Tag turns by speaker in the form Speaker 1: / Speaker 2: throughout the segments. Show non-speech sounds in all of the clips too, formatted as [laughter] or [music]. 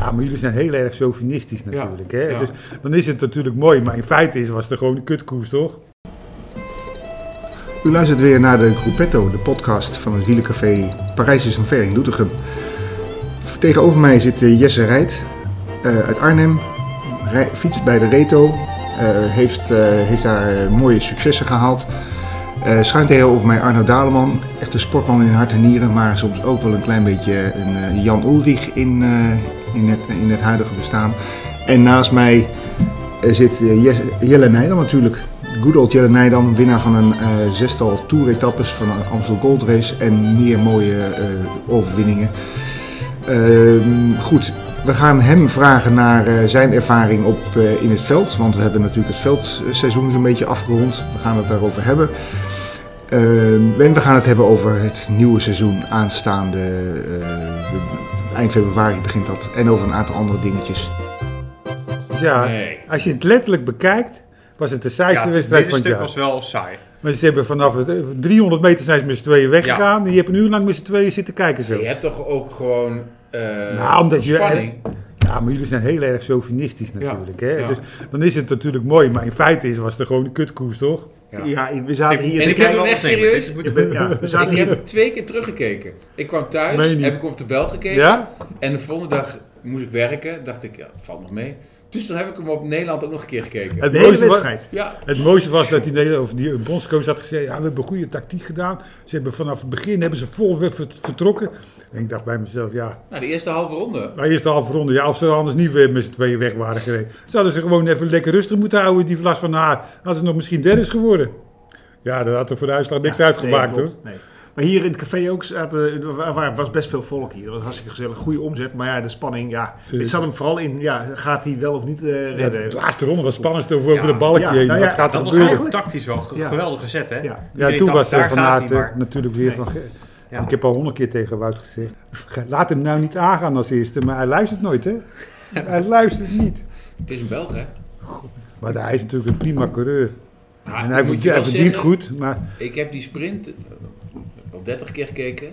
Speaker 1: Ja, Ah, maar jullie zijn heel erg chauvinistisch
Speaker 2: Ja,
Speaker 1: natuurlijk. Hè?
Speaker 2: ja.
Speaker 1: Dus dan is het natuurlijk mooi, maar in feite is, was het gewoon een kutkoers, toch?
Speaker 3: U luistert weer naar de Gruppetto, de podcast van het wielencafé Parijs is een ver in Doetinchem. Tegenover mij zit eh, Jesse Rijt eh, uit Arnhem, Rij, fietst bij de Reto, eh, heeft, eh, heeft daar eh, mooie successen gehaald. Eh schuin tegenover mij Arno Daleman, echt een sportman in hart en nieren, maar soms ook wel een klein beetje een eh, Jan Ulrich in, eh, in, het, in het huidige bestaan. En naast mij eh, zit eh, Jesse- Jelle Nijdam natuurlijk. Good old Jelle Nijdam, winnaar van een eh, zestal toeretappes van de Amstel Gold Race en meer mooie eh, overwinningen. Ehm, goed, we gaan hem vragen naar eh, zijn ervaring op, eh, in het veld, want we hebben natuurlijk het veldseizoen zo'n beetje afgerond. We gaan het daarover hebben. Ehm, en we gaan het hebben over het nieuwe seizoen aanstaande. eh, eind februari begint dat. En over een aantal andere dingetjes.
Speaker 1: Dus ja,
Speaker 2: Nee.
Speaker 1: als je het letterlijk bekijkt, was het de
Speaker 4: Ja,
Speaker 1: saaiste
Speaker 4: het
Speaker 1: wedstrijd van het
Speaker 4: middenstuk
Speaker 1: jaar.
Speaker 4: was wel saai.
Speaker 1: Maar ze hebben vanaf het, eh, 300 meter zijn ze met z'n tweeën weggegaan. En je hebt een uur lang met z'n tweeën zitten kijken zo.
Speaker 2: Je hebt toch ook gewoon eh,
Speaker 1: Nou, omdat je-
Speaker 2: spanning.
Speaker 1: Ja, maar jullie zijn heel erg chauvinistisch natuurlijk. Hè?
Speaker 2: ja.
Speaker 1: Dus dan is het natuurlijk mooi, maar in feite is, was het gewoon een kutkoers, toch?
Speaker 2: Ja.
Speaker 3: we zaten
Speaker 2: En ik heb hem echt serieus.
Speaker 3: Ja, we
Speaker 2: Ik heb het twee keer teruggekeken. Ik kwam thuis,
Speaker 1: Meen je niet?
Speaker 2: heb ik op de bel gekeken.
Speaker 1: Ja?
Speaker 2: En de volgende dag moest ik werken. Dacht ik, ja, valt nog mee. Dus dan heb ik hem op Nederland ook nog een keer gekeken.
Speaker 1: Het mooiste was-
Speaker 2: Ja,
Speaker 1: Het mooiste was dat die, Nederland- of die bondscoach had gezegd, ja, we hebben goede tactiek gedaan. Ze hebben vanaf het begin hebben ze vol weer vert- vertrokken. En ik dacht bij mezelf, ja,
Speaker 2: nou, de eerste halve ronde.
Speaker 1: de eerste halve ronde, ja, of ze anders niet weer met z'n tweeën weg waren gereden. Zouden ze gewoon even lekker rustig moeten houden, die vlas van haar. Hadden ze nog misschien derde geworden. Ja, dat had er voor de uitslag niks uitgemaakt, hoor.
Speaker 5: Nee. Maar hier in het café ook zaten, er wa- wa- was best veel volk hier. Dat was hartstikke gezellig. Goede omzet. Maar ja, de spanning, ja. Het zat hem vooral in, ja, gaat hij wel of niet eh,
Speaker 1: Ja,
Speaker 5: redden?
Speaker 1: de laatste ronde was het spannendste over over
Speaker 5: Ja,
Speaker 1: de balkje
Speaker 5: ja,
Speaker 1: heen.
Speaker 5: nou
Speaker 1: Wat
Speaker 5: ja,
Speaker 1: gaat er
Speaker 4: Dat was
Speaker 1: gebeuren?
Speaker 4: eigenlijk tactisch wel ge-
Speaker 5: Ja.
Speaker 4: geweldig gezet, hè?
Speaker 5: Ja.
Speaker 1: Ja,
Speaker 4: Iedereen
Speaker 1: toen
Speaker 4: dacht,
Speaker 1: was er
Speaker 4: daar
Speaker 1: van
Speaker 4: gaat
Speaker 1: Aert
Speaker 4: hij maar.
Speaker 1: eh, natuurlijk weer van... ge-
Speaker 4: Ja.
Speaker 1: Ik heb al honderd keer tegen Wout gezegd, laat hem nou niet aangaan als eerste. Maar hij luistert nooit,
Speaker 2: [laughs]
Speaker 1: hè? hij luistert niet.
Speaker 2: Het is een Belg, hè?
Speaker 1: Maar hij is natuurlijk een prima coureur.
Speaker 2: Nou,
Speaker 1: en
Speaker 2: ik
Speaker 1: hij,
Speaker 2: moet
Speaker 1: verdient,
Speaker 2: je
Speaker 1: hij
Speaker 2: wel
Speaker 1: verdient
Speaker 2: zeggen,
Speaker 1: goed, maar
Speaker 2: Ik heb die sprint eh, al 30 keer gekeken.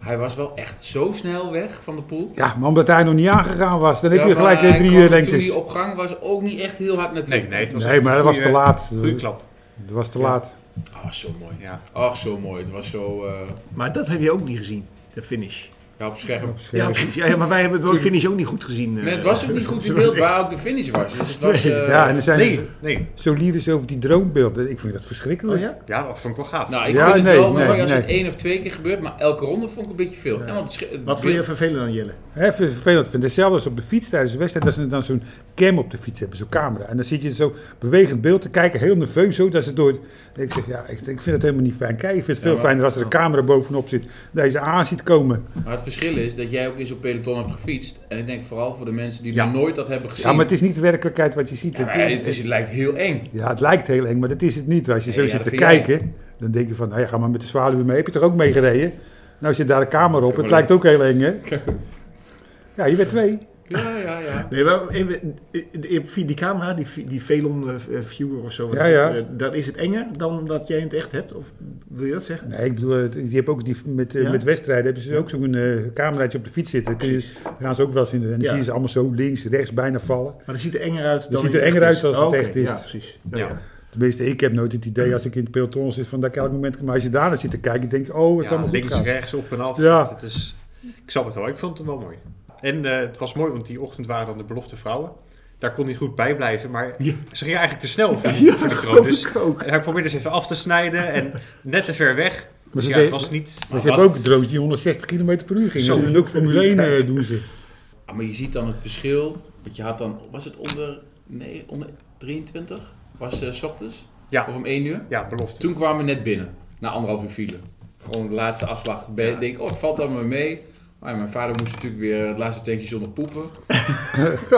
Speaker 2: Hij was wel echt zo snel weg van de pool.
Speaker 1: ja, maar omdat hij nog niet aangegaan was, dan heb
Speaker 2: Ja,
Speaker 1: je gelijk
Speaker 2: maar
Speaker 1: eh,
Speaker 2: hij
Speaker 1: drie
Speaker 2: kwam
Speaker 1: eh,
Speaker 2: Toen
Speaker 1: lengtes.
Speaker 2: hij op gang was, ook niet echt heel hard naartoe.
Speaker 4: Nee, nee, het was
Speaker 1: Nee, maar dat was te laat.
Speaker 4: Goede klap.
Speaker 1: Dat was te laat.
Speaker 2: Ah, zo mooi.
Speaker 4: Ja.
Speaker 2: Ach, zo mooi. Het was zo eh,
Speaker 5: Maar dat heb je ook niet gezien, de finish.
Speaker 2: ja, op scherm.
Speaker 5: Ja, precies. Ja, ja, maar wij hebben de
Speaker 4: Tuurlijk.
Speaker 5: finish ook niet goed gezien. eh.
Speaker 2: Nee, het was ook niet goed in beeld waar ook de finish was. Dus het
Speaker 1: [laughs]
Speaker 2: was... eh,
Speaker 1: ja, en er zijn
Speaker 4: Nee, nee.
Speaker 1: zo lyrisch over die droombeelden. Ik vind dat
Speaker 2: Oh
Speaker 1: verschrikkelijk.
Speaker 4: Ja, dat vond ik wel gaaf.
Speaker 2: Nou, ik
Speaker 1: Ja,
Speaker 2: vind het
Speaker 1: nee,
Speaker 2: wel mooi
Speaker 1: nee,
Speaker 2: als
Speaker 1: nee.
Speaker 2: het één of twee keer gebeurt, maar elke ronde vond ik een beetje veel. En want het sche- het
Speaker 5: Wat vond
Speaker 2: beeld-
Speaker 5: je vervelend dan, Jelle?
Speaker 1: Hè, ver- vervelend vind. Hetzelfde als op de fiets tijdens de wedstrijd, dat ze dan zo'n cam op de fiets hebben, zo'n camera. En dan zit je zo bewegend beeld te kijken, heel nerveus zo, dat ze door het... Ik zeg, ja, ik, ik vind het helemaal niet fijn. Kijk, ik vind het veel
Speaker 2: maar-
Speaker 1: fijner als er een camera bovenop zit, dat je ze aan ziet komen.
Speaker 2: Maar het verschil is dat jij ook in zo'n peloton hebt gefietst. En ik denk vooral voor de mensen die
Speaker 4: Ja.
Speaker 2: nog nooit dat hebben gezien.
Speaker 1: Ja, maar het is niet de werkelijkheid wat je ziet.
Speaker 2: Ja,
Speaker 1: Het-
Speaker 2: maar het, is, het lijkt heel eng.
Speaker 1: Ja, het lijkt heel eng, maar dat is het niet. Als je zo
Speaker 2: Nee, ja,
Speaker 1: zit
Speaker 2: dat
Speaker 1: te
Speaker 2: vind jij.
Speaker 1: kijken, dan denk je van, nou ja, ga maar met de zwaluw mee. Heb je toch ook mee gereden? Nou zit daar een kamer op.
Speaker 2: maar
Speaker 1: Het lijkt ook heel eng,
Speaker 2: [laughs]
Speaker 1: hè? Ja, je bent twee.
Speaker 2: Ja, ja, ja.
Speaker 5: Nee, maar even, eh, eh, via die camera, die, vi- die Velon eh, eh, viewer of zo, wat
Speaker 1: Ja,
Speaker 5: is
Speaker 1: ja.
Speaker 5: het, eh, dan is het enger dan dat jij in het echt hebt? Of wil je dat zeggen?
Speaker 1: Nee, ik bedoel, het- je hebt ook die, met, eh,
Speaker 5: Ja.
Speaker 1: met wedstrijden hebben ze ook zo'n eh cameraatje op de fiets zitten. Dan kun je- dan gaan ze ook wel eens in. En dan
Speaker 5: Ja.
Speaker 1: zie je ze allemaal zo links, rechts bijna vallen.
Speaker 5: Maar dat ziet er enger uit dan
Speaker 1: ziet
Speaker 5: in
Speaker 1: er
Speaker 5: het
Speaker 1: enger
Speaker 5: echt
Speaker 1: uit
Speaker 5: is.
Speaker 1: als het
Speaker 5: Oh, oké.
Speaker 1: echt is.
Speaker 5: Ja, precies. Ja,
Speaker 4: Ja.
Speaker 5: ja.
Speaker 1: Tenminste, ik heb nooit het idee als ik in het peloton zit van dat ik elk moment... Maar als je daarna zit te kijken, denk je, oh, het is
Speaker 4: Ja,
Speaker 1: allemaal goed
Speaker 4: links,
Speaker 1: gaan.
Speaker 4: rechts, op en af.
Speaker 1: Ja.
Speaker 4: Het is, ik snap het wel. Ik vond het wel mooi. En eh, het was mooi, want die ochtend waren dan de belofte vrouwen. Daar kon hij goed bij blijven, maar ze ging eigenlijk te
Speaker 1: [laughs]
Speaker 4: snel voor die, voor die troon. Dus hij probeerde ze even af te snijden en net te ver weg. Dus
Speaker 1: ze
Speaker 4: ja, het
Speaker 1: deed-
Speaker 4: was niet...
Speaker 1: Maar ze hebben Dus ook drones die 160 km per uur gingen.
Speaker 4: Zo.
Speaker 1: Ze doen ook Formule 1 eh, doen ze.
Speaker 2: Ah, maar je ziet dan het verschil. Want je had dan, was het onder, nee, onder 23? Was eh, s ochtends?
Speaker 4: Ja.
Speaker 2: Of om 1 uur?
Speaker 4: Ja, belofte.
Speaker 2: Toen kwamen we net binnen, na anderhalf uur file. Gewoon de laatste afslag. Ik Denk, ik, oh, het valt allemaal mee. Maar ja, mijn vader moest natuurlijk weer het laatste tankje zonder poepen.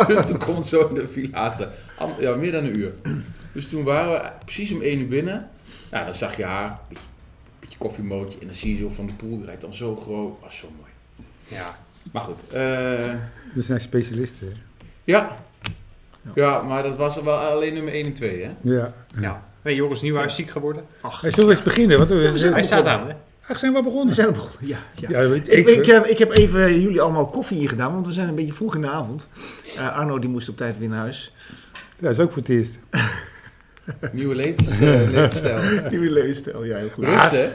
Speaker 2: dus toen kon zo in de file laatste. Am- Ja, meer dan een uur. Dus toen waren we precies om één uur binnen. Nou, dan zag je haar, een beetje, beetje koffiemootje. En dan zie je zo van de poel, die rijdt dan zo groot. Was zo mooi.
Speaker 4: Ja.
Speaker 2: Maar goed, eh,
Speaker 1: Dat zijn specialisten. hè.
Speaker 2: ja. Ja, maar dat was wel alleen nummer 1 en 2, hè?
Speaker 1: Ja.
Speaker 4: ja. Nee, Joris Nieuwaar is ziek geworden.
Speaker 1: Hey, Zullen we eens beginnen? Want we-
Speaker 4: Hij staat aan, hè?
Speaker 1: Ach, zijn we al
Speaker 5: We
Speaker 1: begonnen?
Speaker 5: zijn al begonnen, ja. ja.
Speaker 1: Ja, weet
Speaker 5: Ik,
Speaker 1: ik, eh,
Speaker 5: ik, heb, ik heb even jullie allemaal koffie ingedaan, want we zijn een beetje vroeg in de avond. Eh, Arno die moest op tijd weer naar huis.
Speaker 1: Ja, is ook voor het eerst.
Speaker 2: Nieuwe levens, eh, levensstijl.
Speaker 5: [laughs] Die wil stel, ja, heel goed.
Speaker 2: Rust, hè?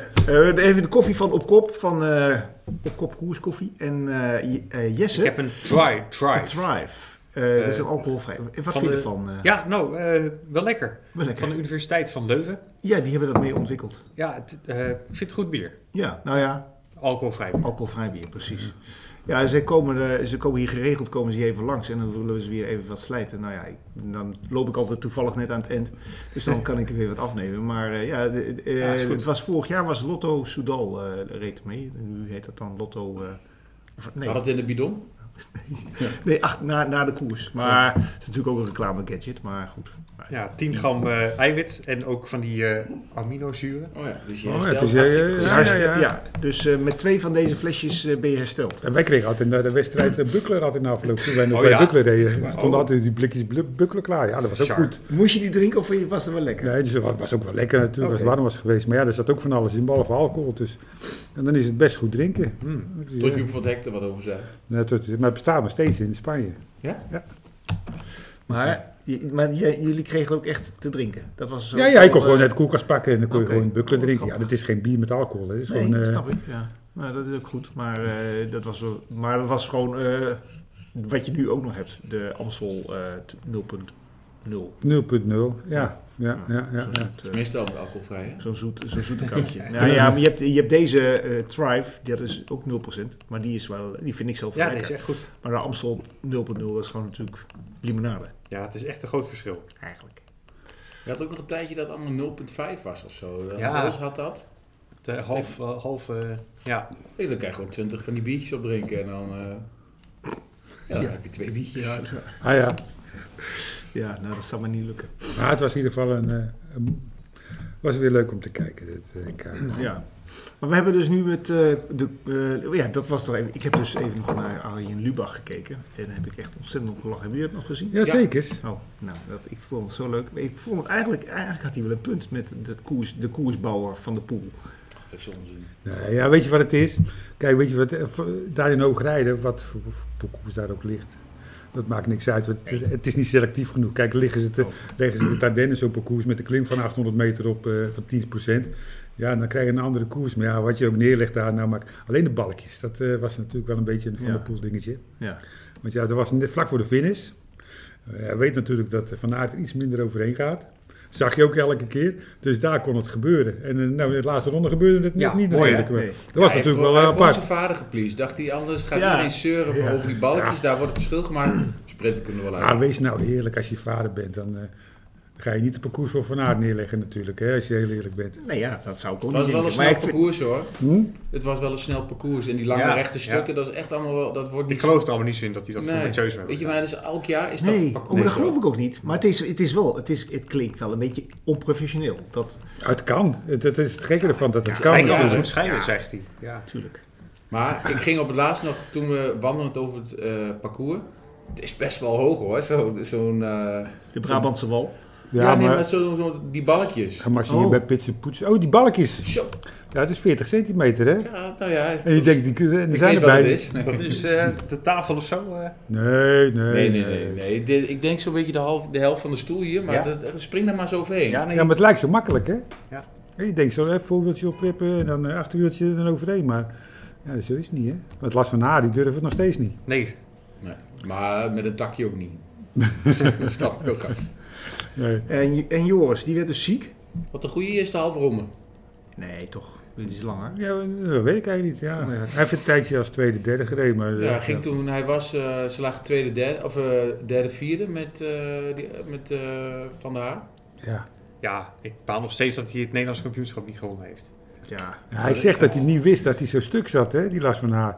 Speaker 5: Eh, even de koffie van Op Kop, van eh Op Kop Koers Koffie. En eh, Je- eh, Jesse,
Speaker 4: Ik heb een try, try.
Speaker 5: Thrive. Eh, dat is
Speaker 4: Eh,
Speaker 5: een alcoholvrij. En Wat
Speaker 4: van
Speaker 5: vind je
Speaker 4: de-
Speaker 5: ervan? eh?
Speaker 4: Ja, nou, eh, wel lekker.
Speaker 5: Wel lekker.
Speaker 4: Van de Universiteit van Leuven.
Speaker 5: Ja, die hebben dat mee ontwikkeld.
Speaker 4: Ja, het, eh, ik vind het goed bier.
Speaker 5: Ja, nou ja,
Speaker 4: Alcoholvrij.
Speaker 5: alcoholvrij bier, precies. Ja, ze komen, eh, ze komen hier geregeld, komen ze hier even langs en dan willen ze weer even wat slijten. Nou ja, ik- dan loop ik altijd toevallig net aan het eind, dus dan kan ik er weer wat afnemen. Maar eh, ja, de- de- eh,
Speaker 4: Ja, is goed.
Speaker 5: het was vorig jaar was Lotto Soudal eh reed mee. Nu heet dat dan Lotto... eh, of- nee,
Speaker 2: Had het in de bidon?
Speaker 5: nee ach, na, na de koers. Maar het is natuurlijk ook een reclame gadget, maar goed.
Speaker 4: Ja, 10 gram eh, eiwit en ook van die eh, aminozuren.
Speaker 2: Oh ja, dus je
Speaker 1: Oh ja,
Speaker 2: herstelt
Speaker 1: dus jij-
Speaker 2: hartstikke goed.
Speaker 1: ja,
Speaker 5: ja, ja, dus eh, met twee van deze flesjes eh, ben je hersteld.
Speaker 1: En wij kregen altijd na de wedstrijd eh, Buckler altijd na afloop. Toen wij nog
Speaker 4: Oh,
Speaker 1: bij
Speaker 4: ja.
Speaker 1: Buckler reden, Er stonden
Speaker 4: Oh.
Speaker 1: altijd die blikjes blu- Buckler klaar. Ja, dat was ook
Speaker 4: Bizar.
Speaker 1: goed.
Speaker 5: Moest je die drinken of was het wel lekker?
Speaker 1: Nee, dus het wa- was ook wel lekker natuurlijk als het
Speaker 5: Oké.
Speaker 1: warm was geweest. Maar ja, er zat ook van alles in, behalve alcohol. Dus. En dan is het best goed drinken.
Speaker 5: Hm.
Speaker 1: Dus,
Speaker 2: Tot
Speaker 1: ja.
Speaker 2: Joep van het Hek er wat over zei.
Speaker 1: Nee, tot- maar het bestaat nog steeds in Spanje.
Speaker 5: Oh. Maar, je- maar jij- jullie kregen ook echt te drinken. Dat was zo
Speaker 1: Ja, ja, ik kon
Speaker 5: Eh,
Speaker 1: gewoon uit de koelkast pakken en dan kon je
Speaker 5: Oké.
Speaker 1: gewoon Buckler
Speaker 5: Oh,
Speaker 1: drinken. Ja,
Speaker 5: grappig.
Speaker 1: dat is geen bier met alcohol. hè. Dat is
Speaker 5: Nee,
Speaker 1: gewoon, eh,
Speaker 5: snap ik. Ja. Nou, dat is ook goed. Maar, eh, dat, was wel, maar dat was gewoon eh, wat je nu ook nog hebt. De Amstel eh, t- 0.0.
Speaker 1: 0.0. Ja, ja, ja, ja. ja.
Speaker 5: Zo'n, eh,
Speaker 2: Meestal met alcoholvrij, hè?
Speaker 5: Zo'n zoet, zo'n
Speaker 1: [laughs]
Speaker 5: zoete kankje. nou ja, maar je hebt, je hebt deze eh Thrive, die dat is ook 0%, maar die, is wel, die vind ik zelf wel
Speaker 4: Ja, dat
Speaker 5: lekker.
Speaker 4: is echt goed.
Speaker 5: Maar de Amstel 0.0, dat is gewoon natuurlijk limonade,
Speaker 4: Ja, het is echt een groot verschil.
Speaker 5: eigenlijk.
Speaker 2: Je had ook nog een tijdje dat het allemaal 0,5 was of zo. Dat
Speaker 4: Ja.
Speaker 2: Roos had dat.
Speaker 4: De half, eh, half eh, ja.
Speaker 2: Ik denk, dan kan je gewoon 20 van die biertjes op drinken en dan... eh, Ja, dan
Speaker 5: Ja.
Speaker 2: heb je twee biertjes.
Speaker 1: Ah ja,
Speaker 5: Ja, nou, dat zal me niet lukken.
Speaker 1: maar het was in ieder geval een... eh, een- was weer leuk om te kijken, dit eh, kamer.
Speaker 5: Ja. Maar we hebben dus nu met eh, de. eh, ja, dat was toch even. Ik heb dus even nog naar Arjen Lubach gekeken. En daar heb ik echt ontzettend op gelachen. Hebben jullie dat nog gezien?
Speaker 1: Ja, zeker.
Speaker 5: Oh, nou, dat, ik vond het zo leuk. Ik vond het eigenlijk. Eigenlijk had hij wel een punt met dat koers, de koersbouwer van de pool.
Speaker 2: Dat is onzin.
Speaker 1: Nee, ja, weet je wat het is? Kijk, weet je wat, eh, voor- daar in Hoogrijden, wat voor voor koers daar ook ligt, dat maakt niks uit. want Het, het is niet selectief genoeg. Kijk, liggen ze te,
Speaker 5: Oh.
Speaker 1: leggen ze de Ardennen zo'n parcours met een klim van 800 meter op eh, van 10%. Ja, dan krijg je een andere koers. Maar ja, wat je ook neerlegt daar, nou maakt alleen de balkjes. Dat eh, was natuurlijk wel een beetje een van
Speaker 5: Ja.
Speaker 1: de poel dingetje.
Speaker 5: Ja.
Speaker 1: Want ja, dat was net vlak voor de finish. Eh, Hij weet natuurlijk dat Van Aert er iets minder overheen gaat. Zag je ook elke keer. Dus daar kon het gebeuren. En eh, nou, in de laatste ronde gebeurde het
Speaker 4: Ja,
Speaker 1: net niet.
Speaker 4: mooi,
Speaker 1: natuurlijk.
Speaker 5: hè?
Speaker 1: Maar
Speaker 5: Nee.
Speaker 1: Dat was
Speaker 2: Hij heeft
Speaker 1: natuurlijk
Speaker 2: gewoon-
Speaker 1: wel
Speaker 2: hij
Speaker 1: eh,
Speaker 2: heeft gewoon
Speaker 1: apart.
Speaker 2: zijn vader gepleased. Dacht hij, anders gaat
Speaker 5: Ja.
Speaker 2: iedereen zeuren van over die balkjes. Daar wordt het verschil gemaakt. Sprinten kunnen we wel uit.
Speaker 1: Maar wees nou eerlijk, als je vader bent, dan eh, ga je niet de parcours voor Van Aert neerleggen natuurlijk. Hè, als je heel eerlijk bent.
Speaker 5: Nou ja, dat zou ik ook
Speaker 2: Het was
Speaker 5: niet
Speaker 2: wel een
Speaker 5: denken.
Speaker 2: snel
Speaker 5: ik vind-
Speaker 2: parcours hoor.
Speaker 1: Hm?
Speaker 2: Het was wel een snel parcours. En die lange
Speaker 4: Ja,
Speaker 2: rechte stukken, dat is echt allemaal wel... Dat wordt
Speaker 4: Ik
Speaker 2: niet...
Speaker 4: geloof er allemaal niet zo in dat hij dat voor
Speaker 2: Nee.
Speaker 4: Mathieu zou
Speaker 2: Weet je,
Speaker 4: hebben.
Speaker 2: maar dus elk jaar is dat
Speaker 5: Nee,
Speaker 2: een
Speaker 5: oh,
Speaker 2: parcours.
Speaker 5: dat geloof
Speaker 2: hoor.
Speaker 5: ik ook niet. Maar het, is, het is wel, het, is, het klinkt wel een beetje onprofessioneel. Dat
Speaker 1: Ah, Het kan. Het, het is het gekke ervan dat het kan.
Speaker 4: Hij kan het
Speaker 2: Ja.
Speaker 4: goed scheiden, zegt hij. Ja.
Speaker 5: natuurlijk.
Speaker 2: Maar ik ging op het laatst nog, toen we wandelend over het eh, parcours... Het is best wel hoog hoor, zo- zo'n... eh,
Speaker 5: De Brabantse wal.
Speaker 2: Ja,
Speaker 1: Ja,
Speaker 2: nee, maar
Speaker 1: maar,
Speaker 2: zo, zo, die balkjes.
Speaker 1: maar als je hier
Speaker 5: Oh.
Speaker 1: bij Pits en Poets... Oh, die balkjes.
Speaker 2: Zo,
Speaker 1: Ja, het is 40 centimeter, hè?
Speaker 2: ja, nou ja.
Speaker 1: En je denkt, die, kunnen- en er
Speaker 2: ik
Speaker 1: zijn
Speaker 2: weet wat het
Speaker 1: erbij.
Speaker 2: is.
Speaker 4: [laughs] Dat is eh, de tafel of zo. eh.
Speaker 1: Nee, nee,
Speaker 2: Nee, nee, nee. nee. Dit- ik denk zo'n beetje de, half, de helft van de stoel hier, maar
Speaker 4: Ja.
Speaker 2: dat, eh, spring daar maar zo overheen.
Speaker 4: Ja, nee.
Speaker 1: Ja, maar het lijkt zo makkelijk, hè?
Speaker 4: Ja.
Speaker 1: En Je denkt zo, hè, voorwieltje opwippen en dan eh, achterwieltje en dan overheen. Maar ja, zo is het niet, hè? Want Lars van Haar, die durft het nog steeds niet.
Speaker 4: Nee,
Speaker 2: Nee. Maar met een takje ook
Speaker 1: [laughs]
Speaker 2: niet. Stap ook af.
Speaker 1: Nee.
Speaker 5: En, en Joris, die werd dus ziek.
Speaker 2: Wat een goede eerste halve ronde.
Speaker 5: Nee, toch. Dit is langer.
Speaker 1: Ja, dat weet ik eigenlijk niet, ja. Hij heeft een tijdje als tweede, derde gereden, maar...
Speaker 2: Ja,
Speaker 1: eh,
Speaker 2: het ging toen hij was, eh, ze lagen tweede, derde, of eh, derde, vierde met, eh, die, eh, met eh, Van der Haar.
Speaker 1: ja.
Speaker 4: ja, ik baal nog steeds dat hij het Nederlands kampioenschap niet gewonnen heeft.
Speaker 5: Ja.
Speaker 1: Ja, hij zegt dat hij niet wist dat hij zo stuk zat, hè, die Lars van Haar.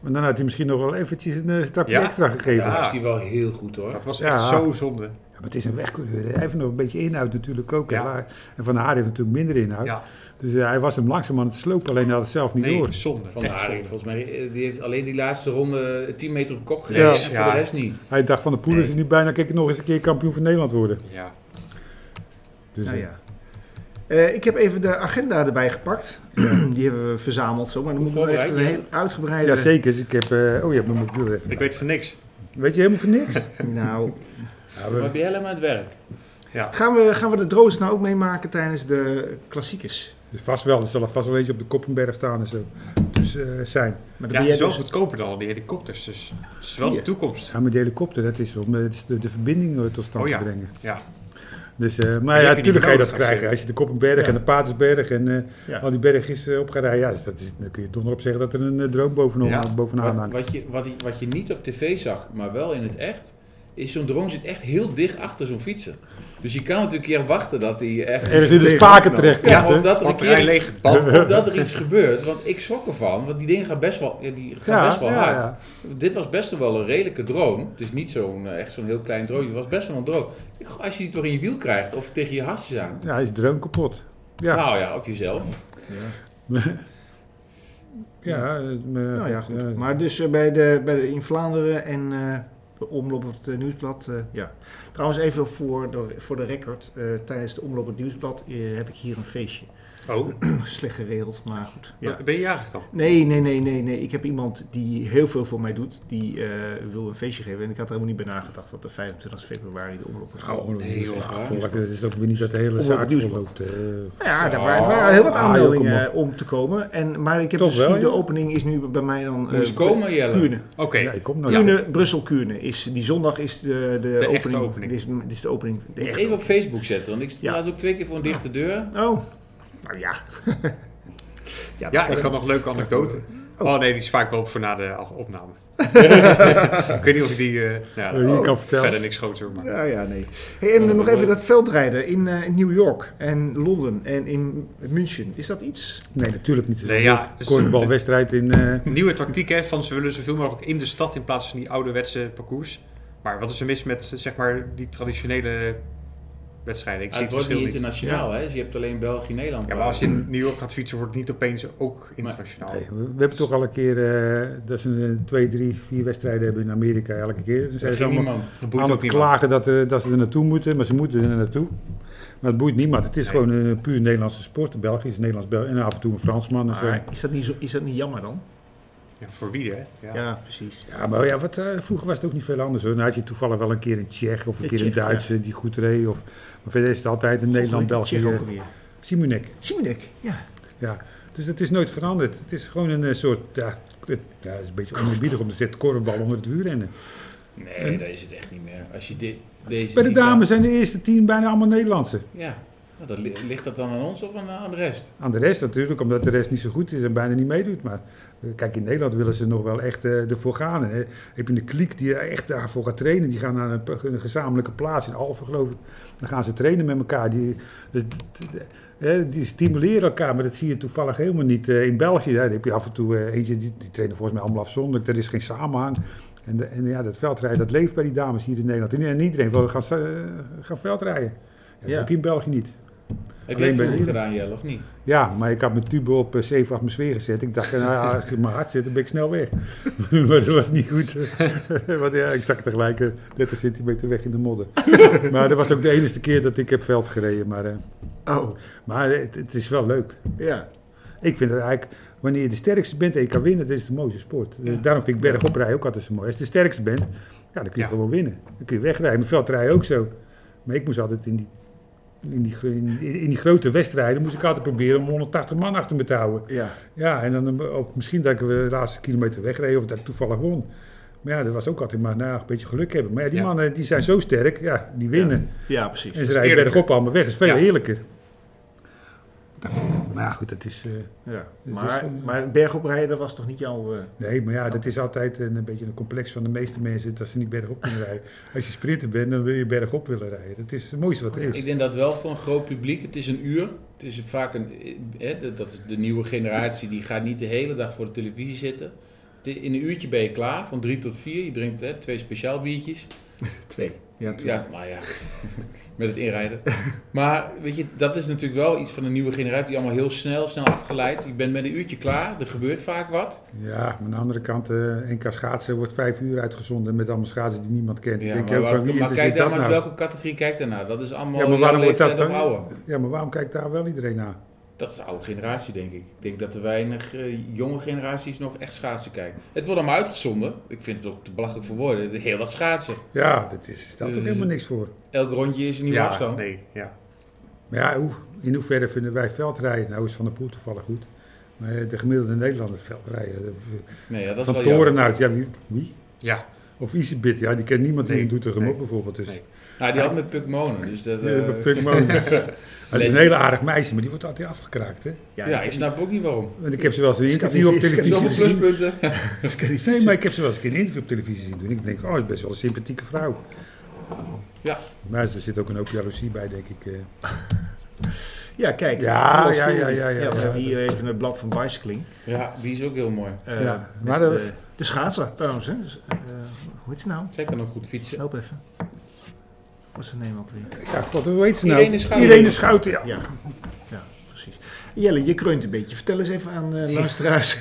Speaker 1: Maar dan had hij misschien nog wel eventjes een eh, trapje
Speaker 4: Ja.
Speaker 1: extra gegeven.
Speaker 2: Daar
Speaker 1: Ja.
Speaker 4: Ja.
Speaker 2: is hij wel heel goed hoor.
Speaker 4: Dat was
Speaker 1: Ja.
Speaker 4: echt zo zonde.
Speaker 1: maar het is een wegcoureur, hè. hij heeft nog een beetje inhoud natuurlijk ook. hè.
Speaker 4: Ja.
Speaker 1: Maar- En Van Haar heeft natuurlijk minder inhoud.
Speaker 4: Ja,
Speaker 1: Dus eh, hij was hem langzaam aan het slopen, alleen hij had het zelf niet door.
Speaker 4: nee, zonde.
Speaker 2: Van der
Speaker 4: Echt
Speaker 2: Haar,
Speaker 4: zonde.
Speaker 2: volgens mij, eh, die heeft alleen die laatste ronde 10 meter op kop
Speaker 1: Ja.
Speaker 2: gereden. en Voor
Speaker 4: Ja.
Speaker 2: de rest niet.
Speaker 1: Hij dacht van de poelen is er nu bijna, kijk nog eens een keer kampioen van Nederland worden.
Speaker 4: Ja.
Speaker 1: Dus,
Speaker 5: Nou
Speaker 1: eh,
Speaker 5: ja. Eh, ik heb even de agenda erbij gepakt. [clears throat] Die hebben we verzameld zo. Maar dan
Speaker 2: Goed
Speaker 5: moeten we echt een
Speaker 2: voorbereid,
Speaker 5: heel uitgebreide...
Speaker 1: Ja, zeker. Dus ik heb... eh, oh, je hebt mijn mobiel even.
Speaker 4: Ik weet van niks.
Speaker 1: Weet je helemaal van
Speaker 4: [laughs]
Speaker 1: niks?
Speaker 5: Nou,
Speaker 1: Ja,
Speaker 2: Maar
Speaker 1: we-
Speaker 2: ben jij helemaal aan het werk?
Speaker 5: gaan we, gaan we de droos nou ook meemaken tijdens de klassiekers?
Speaker 1: dus vast wel. Er zal er vast wel eentje op de Koppenberg staan en zo. Dus eh, zijn.
Speaker 5: Maar dan ben
Speaker 4: Ja, het
Speaker 5: jij
Speaker 4: is wel
Speaker 5: dus-
Speaker 4: goedkoper dan al die helikopters. Dus het is wel
Speaker 5: Ja.
Speaker 4: de toekomst.
Speaker 1: Ja, met de helikopter, dat is om eh, dat is de, de verbinding eh, tot stand
Speaker 4: Oh, ja.
Speaker 1: te brengen.
Speaker 4: Ja.
Speaker 1: Dus, eh, maar
Speaker 4: heb
Speaker 1: ja,
Speaker 4: je
Speaker 1: natuurlijk
Speaker 4: niet
Speaker 1: ga je
Speaker 4: nodig
Speaker 1: dat
Speaker 4: als je-
Speaker 1: krijgen. Als je de Koppenberg
Speaker 5: Ja.
Speaker 1: en de Patersberg en eh,
Speaker 5: Ja.
Speaker 1: al die bergjes eh, op gaat rijden, ja, dus dat is, dan kun je donder op zeggen dat er een eh, droom bovenop,
Speaker 4: Ja.
Speaker 1: bovenaan
Speaker 2: Wat,
Speaker 1: hangt.
Speaker 2: wat, je, wat, je- wat je niet op tv zag, maar wel in het echt, is zo'n drone zit echt heel dicht achter zo'n fietser. Dus je kan natuurlijk een keer wachten dat hij echt...
Speaker 1: Er is in de spaken terecht.
Speaker 2: Ja, of dat er een
Speaker 4: Batterij
Speaker 2: keer iets,
Speaker 4: leeg. Bam.
Speaker 2: of dat er iets gebeurt. Want ik schrok ervan, want die dingen gaan best wel, ja, die gaan best wel hard. Dit was best wel een redelijke drone. Het is niet zo'n eh, echt zo'n heel klein drone. Het was best wel een drone. Ik dacht, Als je die toch in je wiel krijgt of tegen je hasjes aan.
Speaker 1: Ja, hij is droom kapot. Ja.
Speaker 2: Nou ja, of jezelf.
Speaker 1: Ja, eh, eh,
Speaker 5: Nou ja, goed.
Speaker 1: eh,
Speaker 5: maar dus eh, bij de, bij de, in Vlaanderen en eh, de omloop op het eh, nieuwsblad. eh, ja. Trouwens, even voor de, voor de record. eh, tijdens de omloop op het nieuwsblad eh, heb ik hier een feestje. [laughs]
Speaker 4: Oh,
Speaker 5: Slecht geregeld, maar goed. Ja.
Speaker 4: ben je jarig dan?
Speaker 5: Nee, nee, nee, nee, nee. Ik heb iemand die heel veel voor mij doet. Die eh, wil een feestje geven. En ik had er helemaal niet bij nagedacht dat de 25 februari de omloop wordt gehouden.
Speaker 1: oh,
Speaker 4: nee, joh.
Speaker 1: ja, volgens mij is het ook weer niet dat de hele
Speaker 5: Omroep
Speaker 1: zaak vol
Speaker 5: Nieuwsblad.
Speaker 1: loopt. eh.
Speaker 5: Nou ja, daar
Speaker 2: Ja.
Speaker 5: waren, waren heel wat
Speaker 1: Ah, joh,
Speaker 5: aanmeldingen
Speaker 1: kom
Speaker 5: eh, om te komen. En, maar ik heb
Speaker 1: Toch
Speaker 5: dus
Speaker 1: wel,
Speaker 5: nu, de
Speaker 1: joh.
Speaker 5: opening is nu bij mij dan... eh,
Speaker 2: Moest komen, Jelle.
Speaker 5: Kuurne.
Speaker 4: Oké.
Speaker 1: ja, ik kom nou.
Speaker 5: Kuurne, Brussel-Kuurne. Is, die zondag is de, de,
Speaker 4: echte
Speaker 5: opening.
Speaker 4: opening.
Speaker 5: Dit is, dit is de opening. De
Speaker 2: Moet
Speaker 5: echte
Speaker 2: even op Facebook zetten, want ik sta
Speaker 5: Ja.
Speaker 2: laatst ook twee keer voor een dichte deur.
Speaker 5: opening. Oh, nou ja. dat
Speaker 4: Ja,
Speaker 5: kan
Speaker 4: ik had nog een leuke anekdote. Oh nee, die spaak ik wel op voor na de af- opname. ik weet niet of ik die... eh, nou ja,
Speaker 1: Eh, hier
Speaker 5: Oh,
Speaker 1: kan vertellen.
Speaker 4: verder niks groots hoor. Maar.
Speaker 5: Ja, ja, nee. Hey, en
Speaker 2: Ja,
Speaker 5: nog
Speaker 2: mooi.
Speaker 5: even dat veldrijden in, eh, in New York en Londen en in München. Is dat iets?
Speaker 1: Nee, natuurlijk niet.
Speaker 4: Nee, ja, dus-
Speaker 1: Kortbalwedstrijd in... eh,
Speaker 4: Nieuwe tactiek hè, van ze willen zoveel mogelijk in de stad in plaats van die ouderwetse parcours. Maar wat is er mis met zeg maar die traditionele wedstrijden? Ik
Speaker 2: Ah,
Speaker 4: zie
Speaker 2: het wordt
Speaker 4: het verschil
Speaker 2: niet
Speaker 4: niet.
Speaker 2: internationaal, hè? Dus je hebt alleen België, Nederland.
Speaker 4: Ja, maar
Speaker 2: waar-
Speaker 4: als je in New York gaat fietsen, wordt het niet opeens ook
Speaker 5: Oh.
Speaker 4: internationaal.
Speaker 1: Nee, we, we hebben toch al een keer eh, dat ze een, twee, drie, vier wedstrijden hebben in Amerika elke keer. Dan zijn
Speaker 2: Dat
Speaker 1: ze
Speaker 2: ging
Speaker 1: allemaal
Speaker 2: niemand.
Speaker 4: Dat boeit
Speaker 1: aan
Speaker 4: ook
Speaker 1: het
Speaker 4: niemand.
Speaker 1: klagen dat, eh, dat ze er naartoe moeten, maar ze moeten er naartoe. Maar het boeit niemand. Het is
Speaker 4: Nee.
Speaker 1: gewoon een puur Nederlandse sport. De België is Nederlands Bel en af en toe een Fransman en zo.
Speaker 5: Maar is, dat niet zo, is dat niet jammer dan?
Speaker 4: Ja, voor wie hè?
Speaker 5: Ja, precies.
Speaker 1: Ja, maar ja, wat, eh, vroeger was het ook niet veel anders. Hoor. Dan had je toevallig wel een keer een Tsjech of een
Speaker 5: Een
Speaker 1: keer een
Speaker 5: Tsjech, ja.
Speaker 1: Duitse die goed reed. Of, maar verder is het altijd een
Speaker 5: Zeg ook
Speaker 1: Nederland-België.
Speaker 5: alweer.
Speaker 1: Simunek.
Speaker 5: Simonek, ja.
Speaker 1: Ja, dus het is nooit veranderd. Het is gewoon een eh, soort, ja, het, ja, het is een beetje onherbiedig om te zetten, korfbal onder het wielrennen.
Speaker 2: Nee, dat is het echt niet meer. Als je dit, deze
Speaker 1: Bij de
Speaker 2: titan-
Speaker 1: dames zijn de eerste tien bijna allemaal Nederlandse.
Speaker 2: Ja, nou, dat, li- ligt dat dan aan ons of aan, aan de rest?
Speaker 1: Aan de rest natuurlijk, omdat de rest niet zo goed is en bijna niet meedoet. Maar eh, kijk, in Nederland willen ze nog wel echt eh, ervoor gaan. Hè. Heb je een kliek die er echt daarvoor gaat trainen? Die gaan naar een, p- een gezamenlijke plaats in Alphen, geloof ik. Dan gaan ze trainen met elkaar. Die, dus, d- d- hè, die stimuleren elkaar, maar dat zie je toevallig helemaal niet eh, in België. Daar heb je af en toe eh, eentje, die, die trainen volgens mij allemaal afzonderlijk. Er is geen samenhang. En, de- en ja, dat veldrijden, dat leeft bij die dames hier in Nederland. En, en iedereen wil gaan, eh, gaan veldrijden. Ja, Dat
Speaker 5: Ja.
Speaker 1: heb je in België niet.
Speaker 2: Heb
Speaker 1: bij
Speaker 2: jij vroeger
Speaker 1: jullie.
Speaker 2: gedaan, Jelle, of niet?
Speaker 1: Ja, maar ik had mijn tube op eh, 7 atmosfeer gezet. Ik dacht, eh, nou ja, als ik op mijn hart zit, dan ben ik snel weg. [laughs] maar dat was niet goed. [laughs] Want ja, ik zak tegelijk eh, 30 centimeter weg in de modder. [laughs] maar dat was ook de enige keer dat ik heb veld gereden. Maar, eh,
Speaker 5: Oh,
Speaker 1: maar het, het is wel leuk.
Speaker 5: ja.
Speaker 1: Ik vind het eigenlijk, wanneer je de sterkste bent en je kan winnen, dat is de mooiste sport. Dus
Speaker 2: Ja.
Speaker 1: daarom vind ik bergoprijden ook altijd zo mooi. Als je de sterkste bent, ja, dan kun je
Speaker 4: Ja.
Speaker 1: gewoon winnen. Dan kun je wegrijden. Maar veldrijden ook zo. Maar ik moest altijd in die, in die, gro- in die, in die grote wedstrijden, moest ik altijd proberen om 180 man achter me te houden.
Speaker 5: Ja,
Speaker 1: Ja, en dan eh, ook misschien dat ik de laatste kilometer wegreden of dat ik toevallig won. Maar ja, dat was ook altijd maar nou, een beetje geluk hebben. Maar ja, die
Speaker 4: Ja.
Speaker 1: mannen die zijn zo sterk, ja, die winnen.
Speaker 5: ja precies.
Speaker 1: En ze rijden
Speaker 4: eerlijker.
Speaker 1: bergop allemaal weg, is veel
Speaker 4: Ja.
Speaker 1: eerlijker. Maar ja, goed, dat is... eh,
Speaker 5: Ja.
Speaker 1: is
Speaker 5: Maar,
Speaker 1: een-
Speaker 5: maar bergoprijden, dat was toch niet jouw... eh,
Speaker 1: nee, maar ja, dat is altijd een, een beetje een complex van de meeste mensen... dat ze niet bergop kunnen [laughs] rijden. Als je sprinter bent, dan wil je bergop willen rijden. Dat is het mooiste wat er is.
Speaker 2: Ik denk dat wel voor een groot publiek. Het is een uur. Het is eh, vaak een, eh, hè, dat- dat is de nieuwe generatie die gaat niet de hele dag voor de televisie zitten. het- In een uurtje ben je klaar, van drie tot vier. Je drinkt hè, twee speciaal biertjes.
Speaker 3: Twee. Ja, twee.
Speaker 2: Ja, maar ja, [laughs] met het inrijden. Maar weet je, dat is natuurlijk wel iets van de nieuwe generatie, die allemaal heel snel, snel afgeleid. Je bent met een uurtje klaar, er gebeurt vaak wat.
Speaker 1: Ja, maar aan de andere kant, eh NK schaatsen wordt vijf uur uitgezonden met allemaal schaatsen die niemand kent.
Speaker 2: Ja,
Speaker 1: Ik denk,
Speaker 2: maar,
Speaker 1: ja,
Speaker 2: waar-
Speaker 1: van wie
Speaker 2: maar kijk
Speaker 1: interesseert
Speaker 2: daar
Speaker 1: dat
Speaker 2: maar eens
Speaker 1: nou?
Speaker 2: welke categorie kijkt daarna. Dat is
Speaker 1: Ja,
Speaker 2: allemaal
Speaker 1: maar
Speaker 2: jouw
Speaker 1: waarom wordt
Speaker 2: leeftijd
Speaker 1: dat
Speaker 2: of
Speaker 1: dan-
Speaker 2: ouder.
Speaker 1: Ja, maar waarom kijkt daar wel iedereen naar?
Speaker 2: Dat is de oude generatie, denk ik. Ik denk dat er weinig eh, jonge generaties nog echt schaatsen kijken. Het wordt allemaal uitgezonden. Ik vind het ook te belachelijk voor woorden. De hele dag schaatsen.
Speaker 1: Ja, dat is, staat
Speaker 2: Dus-
Speaker 1: toch helemaal niks voor.
Speaker 2: Elk rondje is een nieuwe
Speaker 4: ja,
Speaker 2: afstand.
Speaker 4: Nee, ja.
Speaker 1: Maar ja, hoe, in hoeverre vinden wij veldrijden? Nou is Van der Poel toevallig goed. Maar eh, de gemiddelde Nederlander veldrijden. eh,
Speaker 2: Nee, ja, dat is
Speaker 1: Van
Speaker 2: wel jammer.
Speaker 1: Toren uit, ja, wie? wie?
Speaker 4: ja.
Speaker 1: Of Isabit, ja, die kent niemand die
Speaker 4: Nee,
Speaker 1: in Doetinchem
Speaker 4: nee,
Speaker 1: ook bijvoorbeeld. Dus,
Speaker 4: nee.
Speaker 2: Nou, die had met Pukmonen. Dus dat, eh,
Speaker 1: eh,
Speaker 2: [laughs]
Speaker 1: Pukman. Dat is een hele aardig meisje, maar die wordt altijd afgekraakt, hè?
Speaker 2: ja, ik snap ook niet
Speaker 1: [laughs]
Speaker 2: waarom.
Speaker 1: Want ik heb ze wel eens een interview
Speaker 3: niet
Speaker 1: op
Speaker 3: eens-
Speaker 1: televisie
Speaker 2: Zoveel
Speaker 1: gezien.
Speaker 2: pluspunten.
Speaker 1: Nee, maar ik heb ze wel eens een keer een interview op televisie zien doen. Ik denk, oh, is best wel een sympathieke vrouw.
Speaker 2: Ja.
Speaker 1: Maar er zit ook een hoop jaloezie bij, denk ik. eh.
Speaker 5: Ja, kijk.
Speaker 1: Ja,
Speaker 5: Rolf
Speaker 1: ja, ja,
Speaker 5: Story.
Speaker 1: ja, ja,
Speaker 5: we
Speaker 1: ja.
Speaker 5: hebben hier even het blad van Bicycling.
Speaker 2: Ja, die is ook heel mooi.
Speaker 5: Eh,
Speaker 1: Ja,
Speaker 5: met,
Speaker 1: maar dat-
Speaker 5: eh, de schaatser trouwens. Hè. Dus, eh, hoe heet ze nou?
Speaker 2: Zij kan ook goed fietsen.
Speaker 5: Help even. Wat is haar naam ook weer?
Speaker 1: Ja, god, hoe heet ze nou?
Speaker 2: Irene Schouten.
Speaker 1: Irene Schouten, ja.
Speaker 5: Ja, ja precies. Jelle, je kreunt een beetje. Vertel eens even aan eh,
Speaker 1: [laughs]
Speaker 5: luisteraars.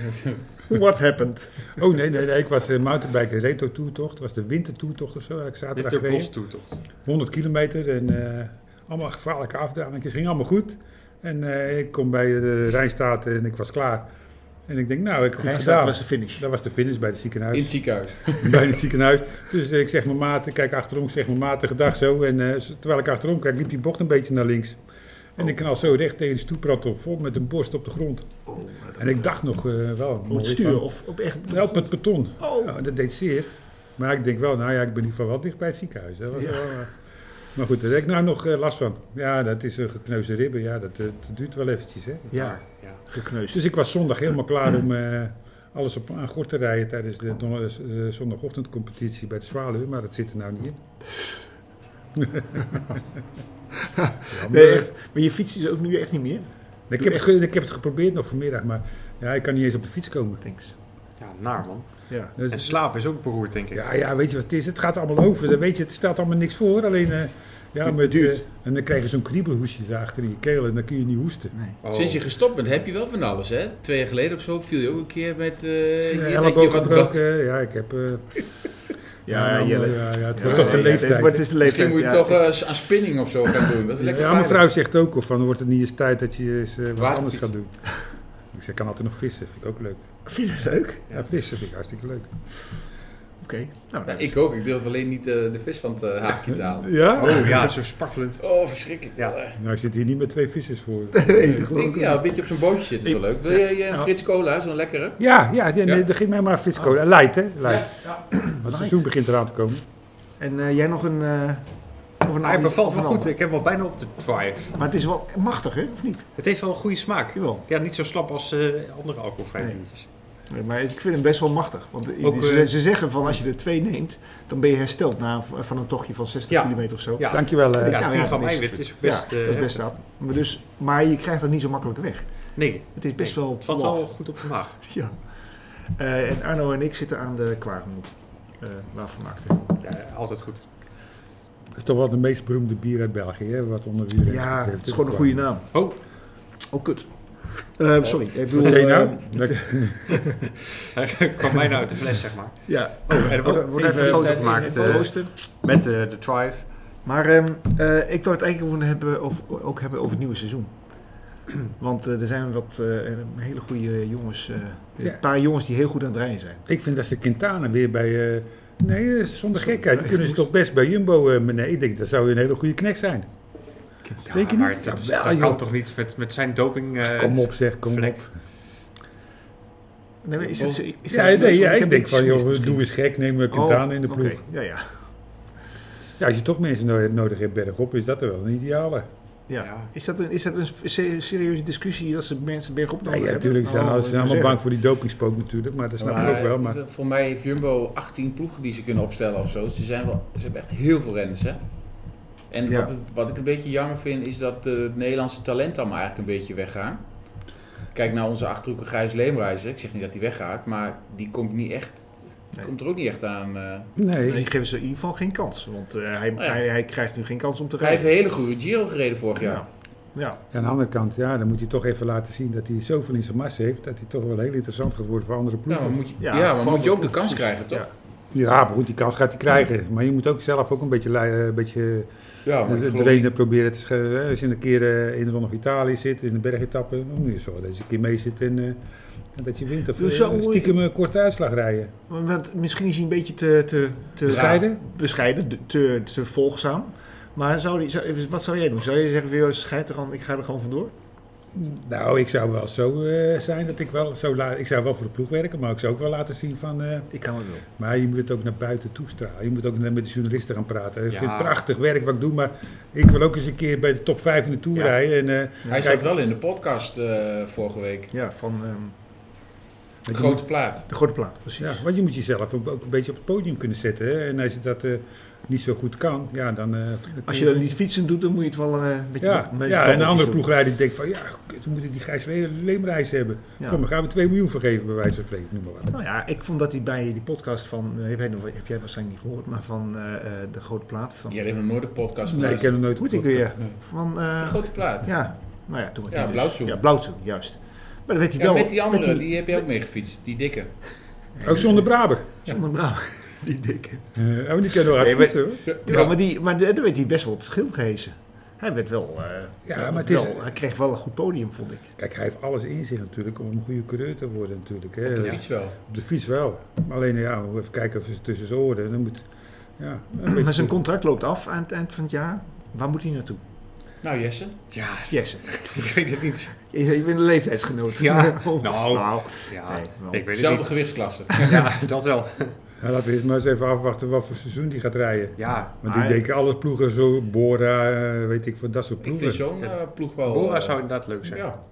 Speaker 5: What happened?
Speaker 1: Oh, nee, nee, nee. Ik was eh mountainbiken retro toertocht. Het was de wintertoertocht of zo. Ik zaterdag
Speaker 4: Dit
Speaker 1: gereden.
Speaker 4: bos toetocht.
Speaker 1: 100 kilometer en eh, allemaal gevaarlijke afdalingen. Het ging allemaal goed. En eh, ik kom bij de Rijnstaat en ik was klaar. En ik denk, nou, ik heb het
Speaker 5: Rijnstaat
Speaker 1: gedaan.
Speaker 5: was de finish.
Speaker 1: Dat was de finish bij het ziekenhuis.
Speaker 2: In het ziekenhuis.
Speaker 1: bij het ziekenhuis. Dus eh, ik zeg mijn maat, ik kijk achterom, ik zeg mijn maat, gedag zo. En eh, z- terwijl ik achterom kijk, liep die bocht een beetje naar links. En ik knal zo recht tegen de stoeprand op, vol met een borst op de grond. En ik dacht nog eh, wel...
Speaker 5: Op het
Speaker 1: mooi
Speaker 5: stuur
Speaker 1: van- Nou,
Speaker 5: of op echt...
Speaker 1: Ja, op het beton.
Speaker 5: Oh.
Speaker 1: Ja, dat deed zeer. Maar ik denk wel, nou ja, ik ben in ieder geval wel dicht bij het ziekenhuis. Dat was
Speaker 5: Ja.
Speaker 1: wel, eh, maar goed, daar heb ik nou nog eh, last van. Ja, dat is een gekneusde ribben. Ja, dat, eh, dat duurt wel eventjes, hè.
Speaker 5: Ja,
Speaker 4: ja.
Speaker 5: gekneusd.
Speaker 1: Dus ik was zondag helemaal klaar om eh, alles op aan gort te rijden tijdens de don- eh, zondagochtendcompetitie bij de Zwaluw, maar dat zit er nou niet
Speaker 5: [laughs]
Speaker 1: in. Jammer.
Speaker 5: Nee, echt. Maar je fietst dus ook nu echt niet meer?
Speaker 1: ik, heb het ge- ik heb het geprobeerd nog vanmiddag, maar ja, ik kan niet eens op de fiets komen.
Speaker 5: Thanks.
Speaker 4: Ja, naar man.
Speaker 5: Ja.
Speaker 1: Dus-
Speaker 4: En slaap is ook beroerd, denk ik.
Speaker 1: ja, ja, weet je wat het is? Het gaat allemaal over. Dan weet je, het staat allemaal niks voor. Alleen, eh, ja, met,
Speaker 5: duurt.
Speaker 1: eh, en dan krijg je zo'n kriebelhoesje achter in je keel en dan kun je niet hoesten.
Speaker 5: Nee.
Speaker 4: Oh.
Speaker 2: Sinds je gestopt bent heb je wel van alles, hè? Twee jaar geleden of zo viel je ook een keer met... eh hier
Speaker 1: Eh,
Speaker 2: dat je
Speaker 1: Elleboog
Speaker 2: wat-
Speaker 1: gebroken, ja, ik heb... eh,
Speaker 5: Ja,
Speaker 1: ja,
Speaker 5: Jelle.
Speaker 1: ja, ja, het
Speaker 5: Ja,
Speaker 1: wordt toch de
Speaker 5: ja,
Speaker 1: leeftijd.
Speaker 5: Het wordt dus de leeftijd.
Speaker 2: Misschien moet je
Speaker 5: ja.
Speaker 2: toch eh, aan spinning of zo gaan doen. Dat is lekker
Speaker 1: ja, mijn
Speaker 2: veilig.
Speaker 1: vrouw zegt ook al van, dan wordt het niet eens tijd dat je eens eh, wat anders
Speaker 2: Waterfietsen.
Speaker 1: gaat doen. Ik zeg, kan altijd nog vissen, vind ik ook leuk.
Speaker 5: Vind je dat leuk? Oké.
Speaker 1: Ja, vissen vind ik hartstikke leuk.
Speaker 5: Nou,
Speaker 2: Ja, ik ook. Ik durf alleen niet eh, de vis van het eh, haakje te halen.
Speaker 1: Ja?
Speaker 4: Oh ja, zo spartelend.
Speaker 2: Oh, verschrikkelijk.
Speaker 4: Ja.
Speaker 2: Eh,
Speaker 1: Nou, ik zit hier niet met twee vissers voor.
Speaker 5: weet ik
Speaker 2: ik- ja, een beetje op zo'n bootje zitten is wel leuk. Wil jij eh, een
Speaker 1: Ja.
Speaker 2: Frits Cola, zo'n lekkere?
Speaker 1: Ja, ja, die-
Speaker 2: Ja.
Speaker 1: nee, dan ging mij maar Fitsco. Leidt, hè? Leidt.
Speaker 2: Ja.
Speaker 1: Want [clears throat] het seizoen begint eraan te komen.
Speaker 5: En eh, jij nog een... eh of
Speaker 3: Oh,
Speaker 5: een
Speaker 4: Hij
Speaker 5: ander-
Speaker 4: bevalt
Speaker 5: of
Speaker 4: me
Speaker 5: een
Speaker 4: goed.
Speaker 5: ander.
Speaker 4: Ik heb hem al bijna op de twaaien.
Speaker 5: Maar het is wel machtig, hè? Of niet?
Speaker 4: Het heeft wel een goede smaak.
Speaker 5: Jawel.
Speaker 4: Ja, niet zo slap als eh, andere alcoholvrije
Speaker 5: Nee.
Speaker 4: biertjes.
Speaker 5: Nee, maar ik vind hem best wel machtig. Want
Speaker 4: Ook,
Speaker 5: ze,
Speaker 4: eh,
Speaker 5: ze zeggen van als je er twee neemt, dan ben je hersteld na, van een tochtje van 60
Speaker 4: Ja.
Speaker 5: kilometer of zo.
Speaker 4: Ja.
Speaker 1: Dankjewel. eh.
Speaker 4: Ja, 10 gram
Speaker 5: dat
Speaker 4: eiwit is ook
Speaker 5: Ja,
Speaker 4: best... eh,
Speaker 5: dat is best dat. Maar, dus, maar je krijgt dat niet zo makkelijk weg.
Speaker 4: Nee,
Speaker 5: Het is best
Speaker 4: Nee,
Speaker 5: wel...
Speaker 4: het valt
Speaker 5: log.
Speaker 4: wel goed op de maag.
Speaker 5: [laughs] Ja. Eh, en Arno en ik zitten aan de Kwagemond. eh waar van maakte.
Speaker 4: Ja, altijd goed. [laughs]
Speaker 1: Dat is toch wel de meest beroemde bier uit België, hè? Wat onder wie
Speaker 5: Ja, het is gewoon een goede naam.
Speaker 4: Oh,
Speaker 5: Oh, kut. Eh, sorry. Ik bedoel,
Speaker 1: Wat zei je nou?
Speaker 5: eh,
Speaker 1: Dat-
Speaker 4: hij kwam bijna uit de fles, zeg maar.
Speaker 5: ja.
Speaker 4: Oh, en er wordt,
Speaker 5: Oh,
Speaker 4: wordt even
Speaker 5: even
Speaker 4: een foto
Speaker 2: zijn-
Speaker 4: gemaakt
Speaker 2: even
Speaker 4: eh,
Speaker 5: Rooster.
Speaker 4: met eh, de Thrive.
Speaker 5: Maar ehm, eh, ik wou het eigenlijk gewoon hebben over, ook hebben over het nieuwe seizoen. Want eh, er zijn wat eh, hele goede jongens, eh,
Speaker 1: Ja.
Speaker 5: een paar jongens die heel goed aan het rijden zijn.
Speaker 1: Ik vind dat ze Quintana weer bij... eh, nee, eh, zonder gekheid. Die kunnen ze toch best bij Jumbo... eh, nee, ik denk dat zou een hele goede knecht zijn.
Speaker 4: Ja,
Speaker 1: Denk je
Speaker 4: maar
Speaker 1: niet?
Speaker 4: Dat, is-
Speaker 1: Jawel,
Speaker 4: dat
Speaker 1: joh.
Speaker 4: kan toch niet met, met zijn doping... eh,
Speaker 1: Kom op zeg, kom
Speaker 4: vlek.
Speaker 1: op.
Speaker 5: Nee, maar is dat, is dat
Speaker 1: Ja,
Speaker 5: zo?
Speaker 1: nee, ja,
Speaker 5: heb
Speaker 1: ik denk
Speaker 5: dit
Speaker 1: van,
Speaker 5: gemist
Speaker 1: joh,
Speaker 5: misschien.
Speaker 1: doe eens gek, neem eh, Quintana
Speaker 5: Oh,
Speaker 1: in de ploeg.
Speaker 5: oké. Ja, ja.
Speaker 1: Ja, als je toch mensen no- nodig hebt bergop, is dat er wel een ideale.
Speaker 5: Ja.
Speaker 4: Ja.
Speaker 5: Is, dat een, is dat een se- serieuze discussie dat ze mensen bergop nodig
Speaker 1: Nee, ja,
Speaker 5: hebben?
Speaker 1: Nou, natuurlijk, ze zijn,
Speaker 5: Oh,
Speaker 1: al- ze
Speaker 5: wat
Speaker 1: zijn
Speaker 5: te
Speaker 1: allemaal bang
Speaker 5: zeggen.
Speaker 1: voor die dopingspook natuurlijk, maar dat snap ik ook wel. Maar
Speaker 2: Voor mij heeft Jumbo 18 ploegen die ze kunnen opstellen of zo. Dus ze, zijn wel, ze hebben echt heel veel renners, hè? En
Speaker 5: Ja.
Speaker 2: wat, het- wat ik een beetje jammer vind, is dat eh, het Nederlandse talent allemaal eigenlijk een beetje weggaan. Kijk naar onze achterhoeker Gijs Leemreizer. Ik zeg niet dat hij weggaat, maar die komt niet echt... die
Speaker 5: Nee.
Speaker 2: Komt er ook niet echt aan. eh.
Speaker 1: Nee.
Speaker 5: Ik geef ze in ieder geval geen kans. Want eh, hij,
Speaker 2: ja.
Speaker 5: hij, hij krijgt nu geen kans om te
Speaker 2: Hij heeft
Speaker 5: rijden.
Speaker 2: een hele goede Giro gereden vorig jaar.
Speaker 5: Ja. Ja.
Speaker 1: Aan de andere kant, ja, dan moet hij toch even laten zien dat hij zoveel in zijn massa heeft. Dat hij toch wel heel interessant gaat worden voor andere
Speaker 2: Ja,
Speaker 1: ploegen.
Speaker 2: maar moet je, ja,
Speaker 5: Ja,
Speaker 2: maar
Speaker 5: van
Speaker 2: moet je
Speaker 5: de-
Speaker 2: ook de kans krijgen, toch?
Speaker 5: Ja.
Speaker 1: Ja, maar goed, die kans gaat hij krijgen. Maar je moet ook zelf ook een beetje, lei- eh, een beetje
Speaker 2: Ja, maar ik
Speaker 1: de
Speaker 2: geloof
Speaker 1: trainer proberen te sche- hè, Als je een keer eh, in de Ronde van Italië zit, in de bergetappen, dan moet je zorgen dat je een keer mee zit en eh, dat je wint. Of
Speaker 5: Dus
Speaker 1: eh,
Speaker 5: zo-
Speaker 1: stiekem een korte uitslag rijden.
Speaker 5: Maar- Want misschien is hij een beetje te, te, te
Speaker 1: Bescheiden?
Speaker 5: bescheiden, de- te, te volgzaam. Maar zou die, zou, wat zou jij doen? Zou je zeggen, "Joh, scheid er aan, ik ga er gewoon vandoor?
Speaker 1: Nou, ik zou wel zo eh, zijn dat ik wel zo laat. Ik zou wel voor de ploeg werken, maar ik zou ook wel laten zien van. eh,
Speaker 5: Ik kan het wel.
Speaker 1: maar je moet het ook naar buiten toestralen. Je moet ook met de journalisten gaan praten. Ik
Speaker 4: Ja.
Speaker 1: vind het prachtig werk wat ik doe, maar ik wil ook eens een keer bij de top 5 in de Tour
Speaker 5: Ja.
Speaker 1: rijden. En, eh,
Speaker 2: Hij
Speaker 1: kijk,
Speaker 2: zat wel in de podcast eh, vorige week.
Speaker 5: Ja, van ehm,
Speaker 2: De grote plaat.
Speaker 5: de grote plaat, precies.
Speaker 1: Ja, want je moet jezelf ook ook een beetje op het podium kunnen zetten. Hè? En als je dat eh, niet zo goed kan, ja, dan... eh,
Speaker 5: Als je dat niet fietsen doet, dan moet je het wel eh, een beetje...
Speaker 1: Ja,
Speaker 5: een beetje
Speaker 1: ja en
Speaker 5: balletjes
Speaker 1: een andere
Speaker 5: doen.
Speaker 1: ploegleider die denkt van... Ja, kut, we moeten die Gijs Le- Leemreis hebben.
Speaker 5: Ja.
Speaker 1: Kom, dan gaan we 2 miljoen vergeven, bij wijze van spreken. Noem maar wat.
Speaker 5: Nou ja, ik vond dat hij bij die podcast van, eh, ik weet nog, heb jij waarschijnlijk niet gehoord, maar van eh, eh, de grote plaat van...
Speaker 2: Jij heeft nog nooit de podcast
Speaker 1: Nee, ik
Speaker 2: geluisterd.
Speaker 1: ken hem nooit.
Speaker 5: Moet ik weer. Van, eh,
Speaker 2: De grote plaat. Ja,
Speaker 5: ja, nou ja, toen werd
Speaker 2: Ja,
Speaker 5: hij dus-
Speaker 2: Blauwtsoen.
Speaker 5: Ja, Blauwtsoen, juist. Maar dan werd hij wel...
Speaker 2: met die andere, die... heb je ook mee gefietst. Die dikke.
Speaker 1: Ook zonder Oh, Braber.
Speaker 5: Zonder Brouwer. [laughs] Die dikke.
Speaker 1: Eh, oh, die kan door hard
Speaker 5: Nee, maar-
Speaker 1: fietsen, hoor.
Speaker 5: Ja, maar, die, maar de- dan werd hij best wel op het schild gehezen. Hij werd wel... eh,
Speaker 1: Ja,
Speaker 5: wel-
Speaker 1: maar het is-
Speaker 5: wel- hij kreeg wel een goed podium, vond ik.
Speaker 1: Kijk, hij heeft alles in zich natuurlijk om een goede coureur te worden natuurlijk. Hè?
Speaker 2: de fiets wel.
Speaker 1: Op de fiets wel. Maar Alleen, ja, we even kijken of ze tussen zijn oren. Dan moet... Ja, een beetje
Speaker 5: Maar zijn contract loopt af aan het eind van het jaar. Waar moet hij naartoe?
Speaker 2: Nou Jesse,
Speaker 4: Ja,
Speaker 5: Jesse.
Speaker 4: ik weet het niet.
Speaker 5: Je, je bent een leeftijdsgenoot.
Speaker 4: Ja,
Speaker 5: Oh,
Speaker 4: nou.
Speaker 5: [laughs] nou.
Speaker 4: Ja,
Speaker 5: Nee, wel.
Speaker 4: ik weet het
Speaker 2: dezelfde
Speaker 4: niet.
Speaker 1: [laughs]
Speaker 2: gewichtsklasse.
Speaker 4: Ja, dat wel.
Speaker 1: Ja, laten we eerst maar eens even afwachten wat voor seizoen die gaat rijden.
Speaker 4: Ja,
Speaker 1: Want
Speaker 5: Maar-
Speaker 1: ik denk alle ploegen, zo Bora, eh, weet ik wat, dat soort
Speaker 2: ik
Speaker 1: ploegen.
Speaker 2: vind zo'n eh, ploeg wel...
Speaker 4: Bora
Speaker 2: eh,
Speaker 4: zou inderdaad leuk zijn.
Speaker 2: Ja,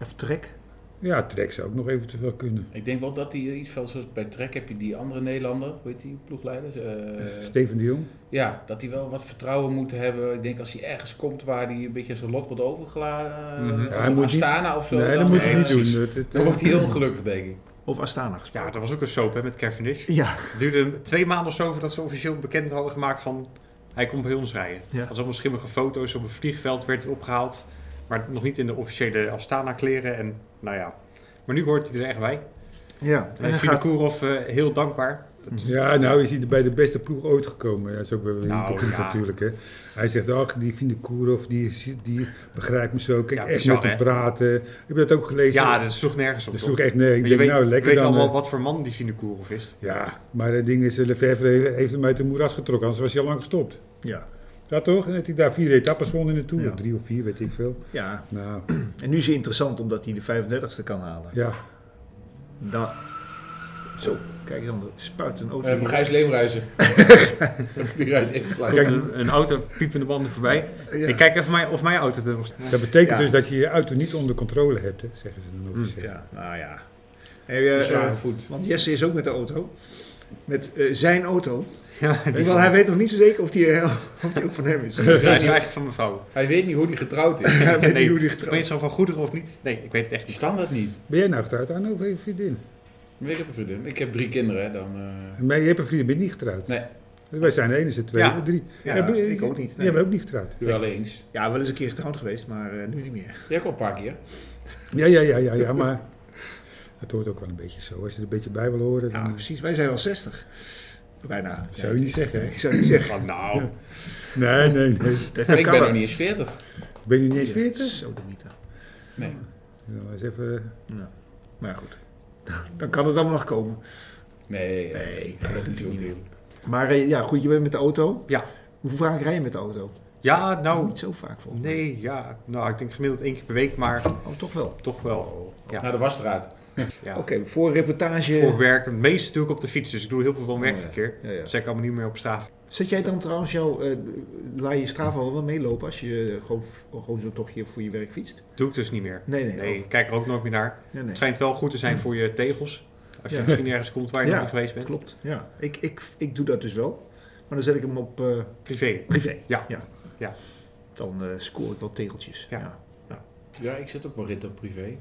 Speaker 5: Even trek.
Speaker 1: Ja, Trek zou ook nog eventueel kunnen.
Speaker 2: ik denk wel dat die iets van... Zoals bij Trek heb je die andere Nederlander, hoe heet die ploegleider?
Speaker 1: [laughs]
Speaker 2: Eh,
Speaker 1: Steven de Jong.
Speaker 2: ja, dat hij wel wat vertrouwen moet hebben. Ik denk als hij ergens komt waar hij een beetje zijn lot wordt overgelaten. eh,
Speaker 4: Mhm.
Speaker 1: Ja,
Speaker 2: als
Speaker 1: hij
Speaker 2: een
Speaker 1: moet niet-
Speaker 2: Astana of zo.
Speaker 1: nee, dat moet
Speaker 2: eh,
Speaker 1: je niet doen.
Speaker 4: precies.
Speaker 1: Dat- dat-
Speaker 2: Dan wordt hij heel ongelukkig, denk
Speaker 1: [laughs]
Speaker 2: ik.
Speaker 5: Over Astana
Speaker 4: Ja,
Speaker 5: gesproken.
Speaker 4: dat was ook een soap hè, met Cavendish.
Speaker 5: Ja.
Speaker 4: Het duurde twee maanden of zo voordat ze officieel bekend hadden gemaakt van hij komt bij ons rijden.
Speaker 5: Ja.
Speaker 4: Dat was allemaal schimmige foto's op een vliegveld werd hij opgehaald, maar nog niet in de officiële Astana kleren en nou ja. Maar nu hoort hij er echt bij.
Speaker 5: ja. En
Speaker 4: En
Speaker 5: dan
Speaker 4: is
Speaker 5: gaat...
Speaker 4: Kourov eh, heel dankbaar.
Speaker 1: Ja, nou is hij er bij de beste ploeg ooit gekomen. Ja, dat is ook wel weer
Speaker 4: Nou,
Speaker 1: hypocriet
Speaker 4: ja.
Speaker 1: natuurlijk. Hè. Hij zegt, ach, die Vinde Koerhoff, die, is- die begrijpt me zo. Kijk,
Speaker 4: Ja,
Speaker 1: echt
Speaker 4: bizar,
Speaker 1: met hem
Speaker 4: hè?
Speaker 1: praten. Heb je dat ook gelezen?
Speaker 4: Ja, dat sloeg nergens op.
Speaker 1: dat is
Speaker 4: toch?
Speaker 1: toch echt, nee, ik
Speaker 4: Maar
Speaker 1: denk,
Speaker 4: je weet,
Speaker 1: nou, lekker
Speaker 4: weet
Speaker 1: dan.
Speaker 4: allemaal
Speaker 1: eh.
Speaker 4: wat voor man die Vinokourov is.
Speaker 1: Ja, maar het ding is, eh, Lefebvre heeft hem uit de moeras getrokken. Anders was hij al lang gestopt.
Speaker 5: Ja.
Speaker 1: Ja, toch? En dat hij daar vier etappes won in de Tour.
Speaker 5: Ja.
Speaker 1: Of Drie of vier, weet ik veel.
Speaker 5: ja.
Speaker 1: Nou,
Speaker 5: En nu is hij interessant omdat hij de 35ste kan halen.
Speaker 1: ja.
Speaker 5: Da Zo, kijk dan, er spuit een auto.
Speaker 2: Eh, maar Gijs
Speaker 1: [laughs]
Speaker 2: Leemreizen. die rijdt even gelijk.
Speaker 1: Kijk,
Speaker 4: een, een auto, piepende banden voorbij.
Speaker 5: Ja.
Speaker 4: Ik kijk even mijn, of mijn auto er nog
Speaker 1: Dat betekent
Speaker 5: Ja.
Speaker 1: dus dat je je auto niet onder controle hebt, hè, zeggen ze dan
Speaker 4: Mm,
Speaker 1: officieel.
Speaker 5: Ja, nou ja. Hey,
Speaker 2: te
Speaker 5: eh,
Speaker 2: zware
Speaker 5: eh,
Speaker 2: voet.
Speaker 5: want Jesse is ook met de auto. Met eh, zijn [laughs] auto.
Speaker 4: Ja, die
Speaker 5: Want
Speaker 4: van-
Speaker 5: hij weet nog niet zo zeker of die, eh, [laughs] of die ook van hem is.
Speaker 1: eh,
Speaker 4: Ja, hij is eigenlijk van mijn vrouw.
Speaker 2: Hij weet niet hoe die getrouwd is.
Speaker 5: Hij weet niet
Speaker 4: Nee,
Speaker 5: hoe die
Speaker 4: ben je
Speaker 5: getrouwd
Speaker 4: zo van goederen of niet? Nee, ik weet het echt
Speaker 2: Die
Speaker 4: niet.
Speaker 2: standaard niet.
Speaker 1: Ben jij nou getrouwd aan of heb je een vriendin?
Speaker 2: Maar ik heb een vriendin. Ik heb drie kinderen, hè, dan... eh,
Speaker 1: Maar je hebt een vriendin, ben je niet getrouwd?
Speaker 2: Nee.
Speaker 1: Wij zijn de ene, ze twee,
Speaker 4: Ja.
Speaker 1: drie.
Speaker 5: Ja,
Speaker 1: ben je-
Speaker 5: ik ook niet,
Speaker 1: Jij
Speaker 5: nee.
Speaker 1: bent ook niet getrouwd.
Speaker 2: Nu wel eens.
Speaker 5: Ja, wel eens een keer getrouwd geweest, maar eh, nu niet meer.
Speaker 2: Jij ook al een paar keer.
Speaker 1: Ja, ja, ja, ja, ja, maar [laughs] het hoort ook wel een beetje zo. Als je er een beetje bij wil horen,
Speaker 5: Ja,
Speaker 1: dan
Speaker 5: precies. Wij zijn al 60. Bijna.
Speaker 1: zou je niet zeggen. Hè?
Speaker 5: Ik zou niet zeggen.
Speaker 4: Van, nou,
Speaker 1: Nee, nee, nee.
Speaker 5: Dat
Speaker 2: ik
Speaker 5: kan
Speaker 2: ben
Speaker 5: wel.
Speaker 2: nog niet eens 40.
Speaker 1: Ben je niet eens veertig?
Speaker 5: Zo dan niet. hè.
Speaker 2: Nee.
Speaker 1: Nou, eens even...
Speaker 5: Nou, Maar [laughs] goed. Dan kan het allemaal nog komen.
Speaker 2: Nee,
Speaker 5: Nee,
Speaker 2: ik geloof niet zo natuurlijk.
Speaker 5: Maar eh, ja, goed, je bent met de auto.
Speaker 4: Ja.
Speaker 5: Hoe vaak rij je met de auto?
Speaker 4: ja, nou,
Speaker 5: Niet zo vaak volgens mij.
Speaker 4: Nee, ja. Nou, ik denk gemiddeld één keer per week, maar
Speaker 5: Oh, toch wel.
Speaker 4: toch wel. Ja.
Speaker 2: Naar Nou, de wasstraat.
Speaker 4: ja.
Speaker 5: Oké, voor een reportage.
Speaker 4: Voor werk, het meeste doe ik op de fiets, dus ik doe heel veel van werkverkeer.
Speaker 5: Oh, Ja, ja.
Speaker 4: Dus ik allemaal niet meer op straat.
Speaker 5: Zet jij dan trouwens jouw. eh laat je Strava wel wel meelopen als je eh, gewoon, gewoon zo'n tochtje voor je werk fietst?
Speaker 4: Doe ik dus niet meer.
Speaker 5: Nee, nee.
Speaker 4: Nee, ik kijk er ook nooit meer naar.
Speaker 5: oh, ja, nee.
Speaker 4: Het schijnt wel goed te zijn voor je tegels. Als je
Speaker 5: Hm. Ja.
Speaker 4: misschien ergens komt waar je
Speaker 5: Ja,
Speaker 4: nog niet geweest bent.
Speaker 5: Klopt. Ja, ik, ik, ik doe dat dus wel. Maar dan zet ik hem op eh,
Speaker 4: Privé.
Speaker 5: privé.
Speaker 4: Ja.
Speaker 5: ja.
Speaker 4: Ja.
Speaker 5: Dan eh, scoor ik wel tegeltjes.
Speaker 4: Ja.
Speaker 2: Ja, ik zit ook wel rit op privé.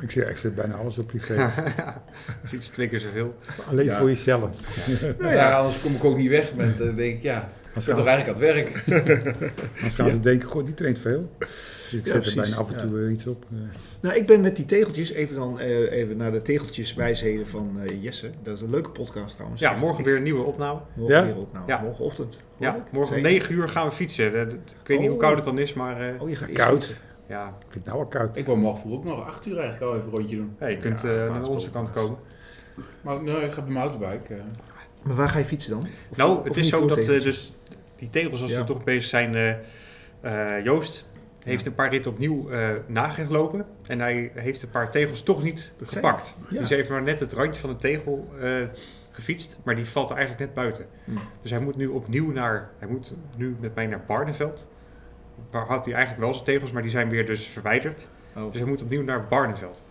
Speaker 1: Ik zit, ik zit bijna alles op privé.
Speaker 4: Fiets twee keer zoveel.
Speaker 1: Alleen
Speaker 4: Ja.
Speaker 1: voor jezelf.
Speaker 2: Nou ja, anders kom ik ook niet weg met, eh, denk ik, ja, ik
Speaker 1: Als
Speaker 2: ben toch
Speaker 1: gaan,
Speaker 2: eigenlijk aan het werk.
Speaker 1: anders gaan ze denken, goh, die traint veel. Dus ik
Speaker 5: Ja,
Speaker 1: zet
Speaker 5: precies,
Speaker 1: er bijna af en
Speaker 5: ja.
Speaker 1: toe eh, iets op. eh.
Speaker 5: Nou, ik ben met die tegeltjes, even dan eh, even naar de tegeltjeswijsheden van eh, Jesse. Dat is een leuke podcast trouwens.
Speaker 4: Ja,
Speaker 5: Echt,
Speaker 4: morgen
Speaker 5: ik-
Speaker 4: weer een nieuwe opname.
Speaker 5: Morgen
Speaker 1: Ja?
Speaker 5: weer op, nou,
Speaker 4: Ja.
Speaker 5: morgenochtend. geloof
Speaker 4: Ja,
Speaker 5: ik.
Speaker 4: morgen om
Speaker 5: Zeker.
Speaker 4: 9 uur gaan we fietsen. Dat- dat- Ik weet niet hoe
Speaker 5: Oh.
Speaker 4: koud het dan is, maar eh,
Speaker 5: Oh, je gaat eerst
Speaker 1: Koud.
Speaker 5: fietsen.
Speaker 4: ja.
Speaker 1: Ik vind het nou al koud.
Speaker 2: Ik wou morgen vroeg ook nog acht uur eigenlijk al even een rondje doen.
Speaker 4: Ja, je kunt
Speaker 5: Ja,
Speaker 4: eh,
Speaker 5: maar het
Speaker 4: naar
Speaker 5: is
Speaker 4: onze
Speaker 5: wel-
Speaker 4: kant komen.
Speaker 2: Maar nee, ik ga op mijn mountainbike. eh.
Speaker 5: Maar waar ga je fietsen dan? Of-
Speaker 4: nou,
Speaker 5: of
Speaker 4: het
Speaker 5: niet
Speaker 4: is zo
Speaker 5: voor
Speaker 4: dat eh,
Speaker 5: tegels?
Speaker 4: dus die tegels, als
Speaker 5: Ja.
Speaker 4: ze toch bezig zijn, eh, eh, Joost heeft een paar ritten opnieuw eh nagelopen. En hij heeft een paar tegels toch niet
Speaker 5: Oké.
Speaker 4: gepakt.
Speaker 5: Ja.
Speaker 4: Die is even maar net het randje van de tegel eh, gefietst, maar die valt er eigenlijk net buiten.
Speaker 5: Hmm.
Speaker 4: Dus hij moet nu opnieuw naar, hij moet nu met mij naar Barneveld. Waar had hij eigenlijk wel zijn tegels, maar die zijn weer dus verwijderd.
Speaker 5: Oh,
Speaker 4: Dus hij moet opnieuw naar Barneveld.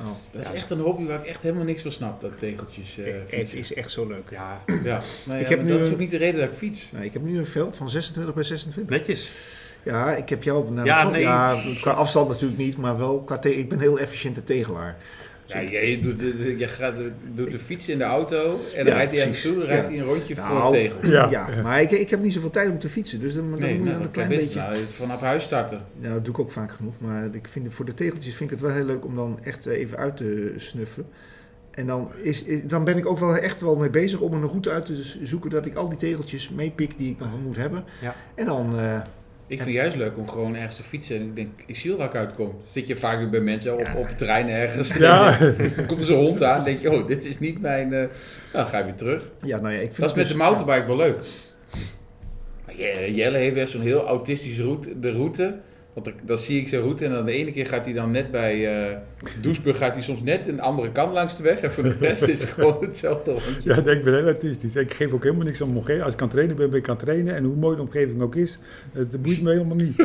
Speaker 5: oh.
Speaker 2: Dat is
Speaker 4: Ja.
Speaker 2: echt een hobby waar ik echt helemaal niks van snap, dat tegeltjes eh,
Speaker 5: het
Speaker 2: fietsen.
Speaker 5: is echt zo leuk.
Speaker 4: Ja,
Speaker 2: Ja, nou ja,
Speaker 5: Ik heb
Speaker 2: maar
Speaker 5: nu
Speaker 2: dat is
Speaker 5: een-
Speaker 2: ook niet de reden dat ik fiets.
Speaker 5: Nou, ik heb nu een veld van 26 bij 26.
Speaker 4: netjes.
Speaker 5: Ja, ik heb jou naar de
Speaker 4: Ja,
Speaker 5: knop-
Speaker 4: nee.
Speaker 5: ja, qua afstand natuurlijk niet, maar wel qua te- ik ben een heel efficiënte tegelaar.
Speaker 2: Ja, jij doet, de- de- jij gaat, de- doet de fiets in de auto en dan
Speaker 5: Ja,
Speaker 2: rijdt hij ergens
Speaker 5: precies.
Speaker 2: toe, dan rijdt
Speaker 5: Ja.
Speaker 2: hij een rondje voor
Speaker 5: Nou,
Speaker 2: tegel.
Speaker 1: Ja.
Speaker 5: ja, maar ik, ik heb niet zoveel tijd om te fietsen, dus dan, dan
Speaker 2: Nee,
Speaker 5: moet je
Speaker 2: nou,
Speaker 5: dan
Speaker 2: dat
Speaker 5: een
Speaker 2: kan
Speaker 5: klein
Speaker 2: beter
Speaker 5: beetje.
Speaker 2: nou, vanaf huis starten.
Speaker 5: Nou, dat doe ik ook vaak genoeg, maar ik vind, het- voor de tegeltjes vind ik het wel heel leuk om dan echt eh, even uit te snuffelen. En dan, is, is- dan ben ik ook wel echt wel mee bezig om een route uit te z- zoeken dat ik al die tegeltjes meepik die ik nog moet hebben.
Speaker 4: Ja.
Speaker 5: En dan, eh,
Speaker 2: Ik vind het juist leuk om gewoon ergens te fietsen en ik denk, ik zie wel waar ik uitkom. Zit je vaak weer bij mensen op, op het terrein ergens.
Speaker 1: Ja,
Speaker 2: [laughs] Dan komt er zo'n hond aan en denk je, oh, dit is niet mijn... eh, Nou, dan ga je weer terug.
Speaker 5: ja, nou ja, ik vind
Speaker 2: Dat is
Speaker 5: het
Speaker 2: met
Speaker 5: dus-
Speaker 2: de mountainbike wel leuk. Maar Je- Jelle heeft echt zo'n heel autistische route, de route. Want ik- dan zie ik zijn route en dan de ene keer gaat hij dan net bij eh Doesburg gaat hij soms net een andere kant langs de weg. En voor de rest is het gewoon hetzelfde rondje.
Speaker 1: ja, ik ben heel artistisch. Ik geef ook helemaal niks om mijn omgeving. Als ik aan het trainen ben, ben ik aan het trainen. En hoe mooi de omgeving ook is, het boeit me helemaal niet.